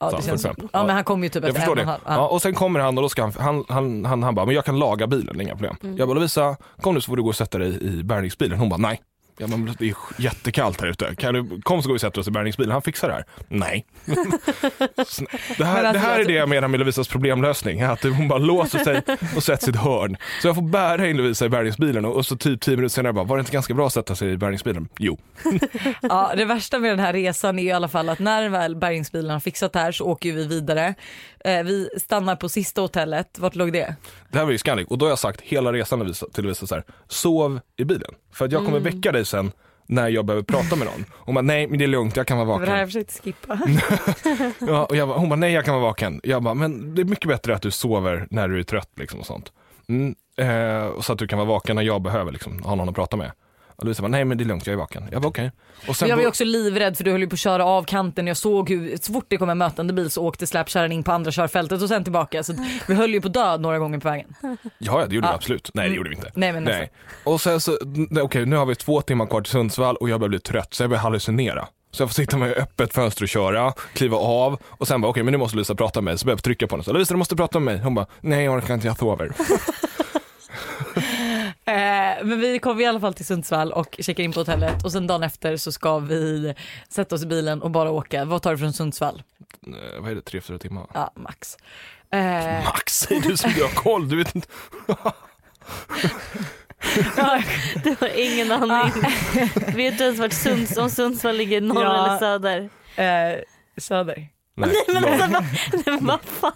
[SPEAKER 2] Ja,
[SPEAKER 3] Så,
[SPEAKER 2] det
[SPEAKER 3] för
[SPEAKER 2] känns,
[SPEAKER 3] exempel.
[SPEAKER 2] ja,
[SPEAKER 3] Ja.
[SPEAKER 2] men han kom ju typ
[SPEAKER 3] Jag
[SPEAKER 2] efter
[SPEAKER 3] förstår
[SPEAKER 2] en och en
[SPEAKER 3] det.
[SPEAKER 2] halv.
[SPEAKER 3] Ja,
[SPEAKER 2] Ja.
[SPEAKER 3] och sen kommer han och då ska han, han, han, han, han bara, men jag kan laga bilen, inga problem.
[SPEAKER 2] Mm.
[SPEAKER 3] Jag bara, Lovisa, kom nu så får du gå och sätta dig i bärgningsbilen. Hon bara, nej. Jag bara, men det är jättekallt här ute. Kan du, kom så går vi och sätter oss i bärgningsbilen, han fixar det här. Nej. [LAUGHS] Snä- det, här
[SPEAKER 2] Men alltså,
[SPEAKER 3] det här är
[SPEAKER 2] jag-
[SPEAKER 3] det jag menar med Lovisas problemlösning, att hon bara låser sig och sätter sitt hörn. Så jag får bära in Lovisa i bärgningsbilen och, och så typ 10 minuter senare bara, var det inte ganska bra att sätta sig i bärgningsbilen? Jo.
[SPEAKER 2] det värsta med den här resan är ju i alla fall att när väl bärgningsbilen har fixat det här så åker ju vi vidare. Eh, vi stannar på sista hotellet, vart låg det?
[SPEAKER 3] Det här var ju Scandic och då har jag sagt hela resan till Lovisa- till Lovisa så här, sov i bilen. För att jag kommer
[SPEAKER 2] Mm.
[SPEAKER 3] väcka dig sen när jag behöver prata med någon. Hon bara, nej men det är lugnt, jag kan vara
[SPEAKER 1] Det var det här jag
[SPEAKER 3] vaken.
[SPEAKER 1] försökte skippa.
[SPEAKER 3] Ja, och jag bara, hon bara, nej jag kan vara vaken. Jag bara, men det är mycket bättre att du sover när du är trött liksom och sånt. Mm. Eh, och så att du kan vara vaken när jag behöver liksom, ha någon att prata med. Och Lovisa bara, nej men det är lugnt, jag är vaken. Jag bara, okej. Och sen
[SPEAKER 2] Men jag var ju
[SPEAKER 3] då-
[SPEAKER 2] också livrädd för du höll ju på att köra av kanten. Jag såg hur så fort det kom en mötande bil så åkte släpkärran in på andra körfältet och sen tillbaka. Så att vi höll ju på att dö några gånger på vägen.
[SPEAKER 3] Ja, ja, det gjorde vi
[SPEAKER 2] Ja.
[SPEAKER 3] absolut. Nej, det gjorde vi inte.
[SPEAKER 2] Nej, men alltså.
[SPEAKER 3] Nej. Och sen så, n- okej nu har vi två timmar kvar till Sundsvall och jag börjar bli trött så jag börjar hallucinera. Så jag får sitta med öppet fönster och köra, kliva av och sen bara okej men nu måste Lisa prata med mig. Så börjar jag trycka på henne så Lisa du måste prata med mig. Hon bara nej jag orkar inte, jag sover.
[SPEAKER 2] Eh, men vi kom i alla fall till Sundsvall och checkar in på hotellet och sen dagen efter så ska vi sätta oss i bilen och bara åka. Vad tar du från Sundsvall?
[SPEAKER 3] Eh, vad är det, tre, fyra timmar?
[SPEAKER 2] Ja, max. Eh,
[SPEAKER 3] Max säger du som du har koll,
[SPEAKER 2] [LAUGHS]
[SPEAKER 3] du vet inte.
[SPEAKER 1] Jag har ingen aning. Vet du ens vart Sunds, om Sundsvall ligger i norr
[SPEAKER 2] Ja.
[SPEAKER 1] eller söder?
[SPEAKER 2] eh, söder.
[SPEAKER 3] Nej,
[SPEAKER 1] Men
[SPEAKER 3] lång.
[SPEAKER 1] alltså vad, nej, men [LAUGHS] vad fan,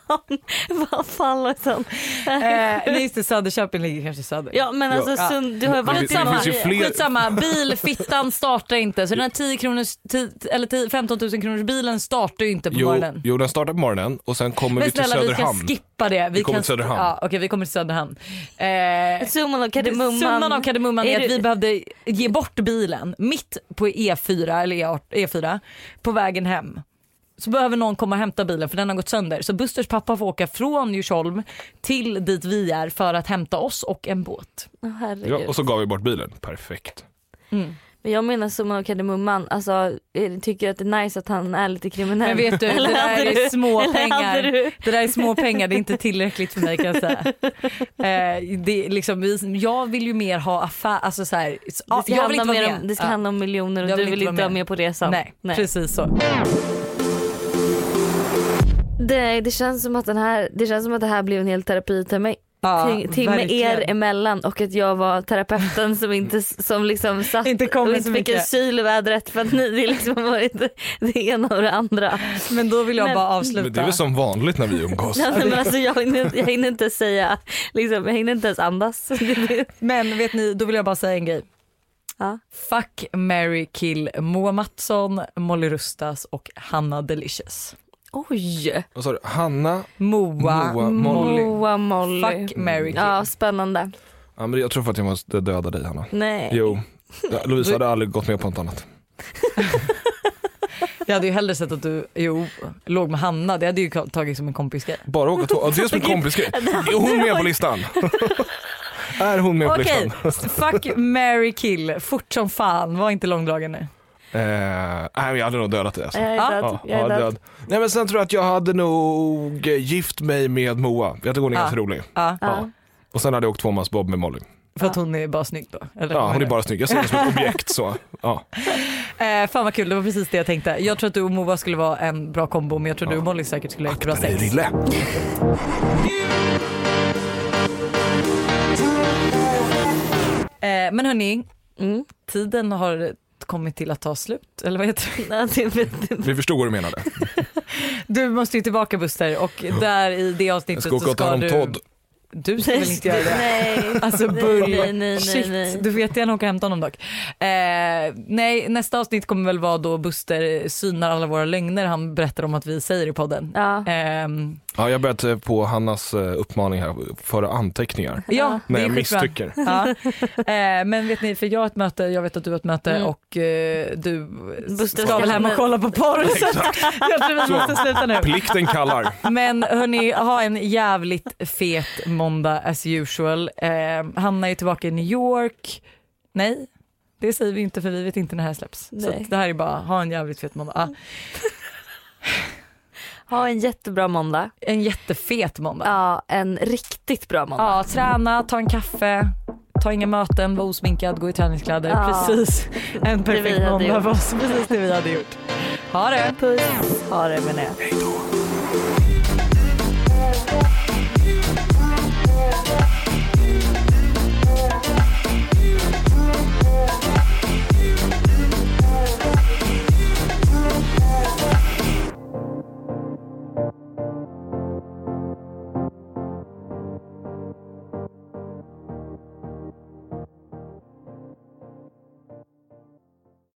[SPEAKER 1] vad fan Lojsan.
[SPEAKER 2] Eh, nej just det, Söderköping ligger kanske söder.
[SPEAKER 1] Ja men alltså
[SPEAKER 3] Ja.
[SPEAKER 1] Sund, du har ju
[SPEAKER 3] Men det-
[SPEAKER 1] varit
[SPEAKER 3] det finns ju
[SPEAKER 1] samma.
[SPEAKER 3] fler-
[SPEAKER 2] Skitsamma, bilfittan startar inte. Så den här 10 kronors, 10, eller 10, 15 000 kronors bilen startar ju inte på
[SPEAKER 3] jo,
[SPEAKER 2] morgonen.
[SPEAKER 3] jo den startar på morgonen och sen kommer
[SPEAKER 2] Men
[SPEAKER 3] vi till
[SPEAKER 2] snälla vi ska
[SPEAKER 3] Söderhamn.
[SPEAKER 2] skippa det. Vi,
[SPEAKER 3] kommer
[SPEAKER 2] kan-
[SPEAKER 3] till Söderhamn.
[SPEAKER 2] Ja, Okej vi kommer till Söderhamn. Eh,
[SPEAKER 1] Summan av kardemumman.
[SPEAKER 2] Summan av kardemumman är,
[SPEAKER 1] Är
[SPEAKER 2] att
[SPEAKER 1] du-
[SPEAKER 2] vi behövde ge bort bilen mitt på E4 eller E E8 E4 på vägen hem. Så behöver någon komma och hämta bilen för den har gått sönder. Så Busters pappa får åka från Djursholm till dit vi är för att hämta oss och en båt.
[SPEAKER 1] Åh, herregud.
[SPEAKER 2] Mm.
[SPEAKER 3] ja, och så gav vi bort bilen, perfekt.
[SPEAKER 1] Men jag menar summan av kardemumman, alltså eh, tycker att det är nice att han är lite kriminell.
[SPEAKER 2] Men vet du, det där
[SPEAKER 1] hade
[SPEAKER 2] är
[SPEAKER 1] Eller hade
[SPEAKER 2] småpengar.
[SPEAKER 1] du?
[SPEAKER 2] Det där är småpengar, det är inte tillräckligt för mig kan jag
[SPEAKER 1] [LAUGHS]
[SPEAKER 2] säga. Eh, det är liksom, vi- jag vill ju mer ha affär, alltså så här,
[SPEAKER 1] Det ska,
[SPEAKER 2] jag vill
[SPEAKER 1] handla,
[SPEAKER 2] inte vara
[SPEAKER 1] mer
[SPEAKER 2] med.
[SPEAKER 1] om, det ska
[SPEAKER 2] Ja.
[SPEAKER 1] handla om miljoner och
[SPEAKER 2] Jag
[SPEAKER 1] du
[SPEAKER 2] vill
[SPEAKER 1] vill
[SPEAKER 2] inte
[SPEAKER 1] inte
[SPEAKER 2] vara
[SPEAKER 1] vara med på resan.
[SPEAKER 2] Nej, precis så.
[SPEAKER 1] Det, det, känns som att den här, det känns som att det här blev en hel terapitimme
[SPEAKER 2] Ja,
[SPEAKER 1] ting- timme
[SPEAKER 2] verkligen.
[SPEAKER 1] er emellan och att jag var terapeuten som inte som liksom satt
[SPEAKER 2] Inte kom
[SPEAKER 1] och
[SPEAKER 2] så
[SPEAKER 1] inte fick
[SPEAKER 2] mycket.
[SPEAKER 1] asyl i vädret för att ni [LAUGHS] det liksom var inte det ena och det andra.
[SPEAKER 2] Men då vill jag
[SPEAKER 1] Men-
[SPEAKER 2] bara
[SPEAKER 3] Men det är
[SPEAKER 2] avsluta.
[SPEAKER 3] väl som vanligt när
[SPEAKER 2] [LAUGHS]
[SPEAKER 3] vi umgås.
[SPEAKER 1] Nej, men alltså, jag, hinner, inte- jag hinner inte säga, liksom, jag hinner inte ens andas. [LAUGHS]
[SPEAKER 2] Men vet ni, då vill jag bara säga en grej.
[SPEAKER 1] Ja.
[SPEAKER 2] Fuck, Mary kill Moa Mattsson, Molly Rustas och Hanna Delicious.
[SPEAKER 1] Oj!
[SPEAKER 3] Vad sa du? Hanna?
[SPEAKER 2] Moa, Molly.
[SPEAKER 3] Moa, Molly.
[SPEAKER 1] Moa Molly.
[SPEAKER 2] Fuck, Mary kill.
[SPEAKER 1] Ja, spännande.
[SPEAKER 3] Ja, men jag tror faktiskt jag måste döda dig Hanna.
[SPEAKER 1] Nej.
[SPEAKER 3] Jo. Ja, Louise hade aldrig gått med på något annat.
[SPEAKER 2] Jag hade ju hellre sett att du jo, låg med Hanna, det hade ju tagit som en kompisgrej.
[SPEAKER 3] Bara åka två. Ja, det är som
[SPEAKER 2] [LAUGHS]
[SPEAKER 3] en kompisgrej. Är hon med på listan? Är hon med på
[SPEAKER 2] Okej,
[SPEAKER 3] listan?
[SPEAKER 2] [LAUGHS]
[SPEAKER 3] [LAUGHS]
[SPEAKER 2] fuck, Mary kill, fort som fan, var inte långdragen nu.
[SPEAKER 3] Eh, nej men jag hade nog dödat dig alltså.
[SPEAKER 1] Jag är
[SPEAKER 2] Ja.
[SPEAKER 1] död.
[SPEAKER 3] Ja,
[SPEAKER 1] Jag är
[SPEAKER 3] ja,
[SPEAKER 1] död.
[SPEAKER 3] död. Nej men sen tror jag att jag hade nog eh, gift mig med Moa. Jag tycker hon är
[SPEAKER 2] Ja.
[SPEAKER 3] ganska rolig.
[SPEAKER 2] Ja,
[SPEAKER 1] Ja.
[SPEAKER 3] Och sen hade jag åkt tvåmansbob med Molly.
[SPEAKER 2] för att hon är bara snygg då. Eller?
[SPEAKER 3] Ja hon är bara snygg. Jag ser henne som ett objekt så. Ja.
[SPEAKER 2] Eh, fan vad kul, det var precis det jag tänkte. Jag tror att du och Moa skulle vara en bra kombo men jag tror du och Molly säkert skulle ha ett [LAUGHS] bra
[SPEAKER 3] Där är
[SPEAKER 2] sex.
[SPEAKER 3] Rille.
[SPEAKER 2] Eh, men hörni,
[SPEAKER 1] Mm.
[SPEAKER 2] tiden har kommit till att ta slut. Eller vad heter det?
[SPEAKER 1] Ja, det vet jag inte.
[SPEAKER 3] Vi förstod vad
[SPEAKER 2] [LAUGHS]
[SPEAKER 3] du menade.
[SPEAKER 2] Du måste ju tillbaka Buster och där i det
[SPEAKER 3] Jag
[SPEAKER 2] avsnittet
[SPEAKER 3] ska åka
[SPEAKER 2] så
[SPEAKER 3] och ta
[SPEAKER 2] ska
[SPEAKER 3] hand
[SPEAKER 2] du...
[SPEAKER 3] om Todd.
[SPEAKER 2] Du ska väl inte göra det?
[SPEAKER 1] Nej.
[SPEAKER 2] Alltså
[SPEAKER 1] Nej,
[SPEAKER 2] bull.
[SPEAKER 1] nej, nej,
[SPEAKER 2] Shit,
[SPEAKER 1] nej, nej.
[SPEAKER 2] du vet jag nog åka och hämta honom dock. Eh, nej, nästa avsnitt kommer väl vara då Buster synar alla våra lögner han berättar om att vi säger i podden.
[SPEAKER 1] Ja.
[SPEAKER 2] Ehm,
[SPEAKER 3] Ja, jag har börjat eh, på Hannas eh, uppmaning här, föra anteckningar.
[SPEAKER 2] ja,
[SPEAKER 3] När
[SPEAKER 2] det är
[SPEAKER 3] jag
[SPEAKER 2] skitbra.
[SPEAKER 3] misstycker.
[SPEAKER 2] Ja. Eh, men vet ni, för jag har ett möte, jag vet att du har ett möte
[SPEAKER 1] Mm.
[SPEAKER 2] och eh, du
[SPEAKER 1] Buster
[SPEAKER 2] ska
[SPEAKER 1] ska
[SPEAKER 2] väl hem och
[SPEAKER 1] nu.
[SPEAKER 2] kolla på porr. Så att
[SPEAKER 3] [LAUGHS] Exakt.
[SPEAKER 2] jag tror vi
[SPEAKER 3] Så.
[SPEAKER 2] måste sluta nu.
[SPEAKER 3] Plikten kallar.
[SPEAKER 2] Men hörni, ha en jävligt fet måndag as usual. Eh, Hanna är tillbaka i New York. Nej, det säger vi inte för vi vet inte när det här släpps. Så
[SPEAKER 1] Nej.
[SPEAKER 2] att det här är bara, ha en jävligt fet måndag. Ah,
[SPEAKER 1] Ha en jättebra måndag.
[SPEAKER 2] en jättefet måndag. Ja,
[SPEAKER 1] Ja, en riktigt bra måndag.
[SPEAKER 2] träna, ta en kaffe. Ta inga möten, var osminkad, gå i träningskläder.
[SPEAKER 1] Ja.
[SPEAKER 2] Precis en perfekt
[SPEAKER 1] hade
[SPEAKER 2] måndag
[SPEAKER 1] gjort.
[SPEAKER 2] för oss. Precis det vi hade gjort. Ha det!
[SPEAKER 1] Puss. Ha det menar jag.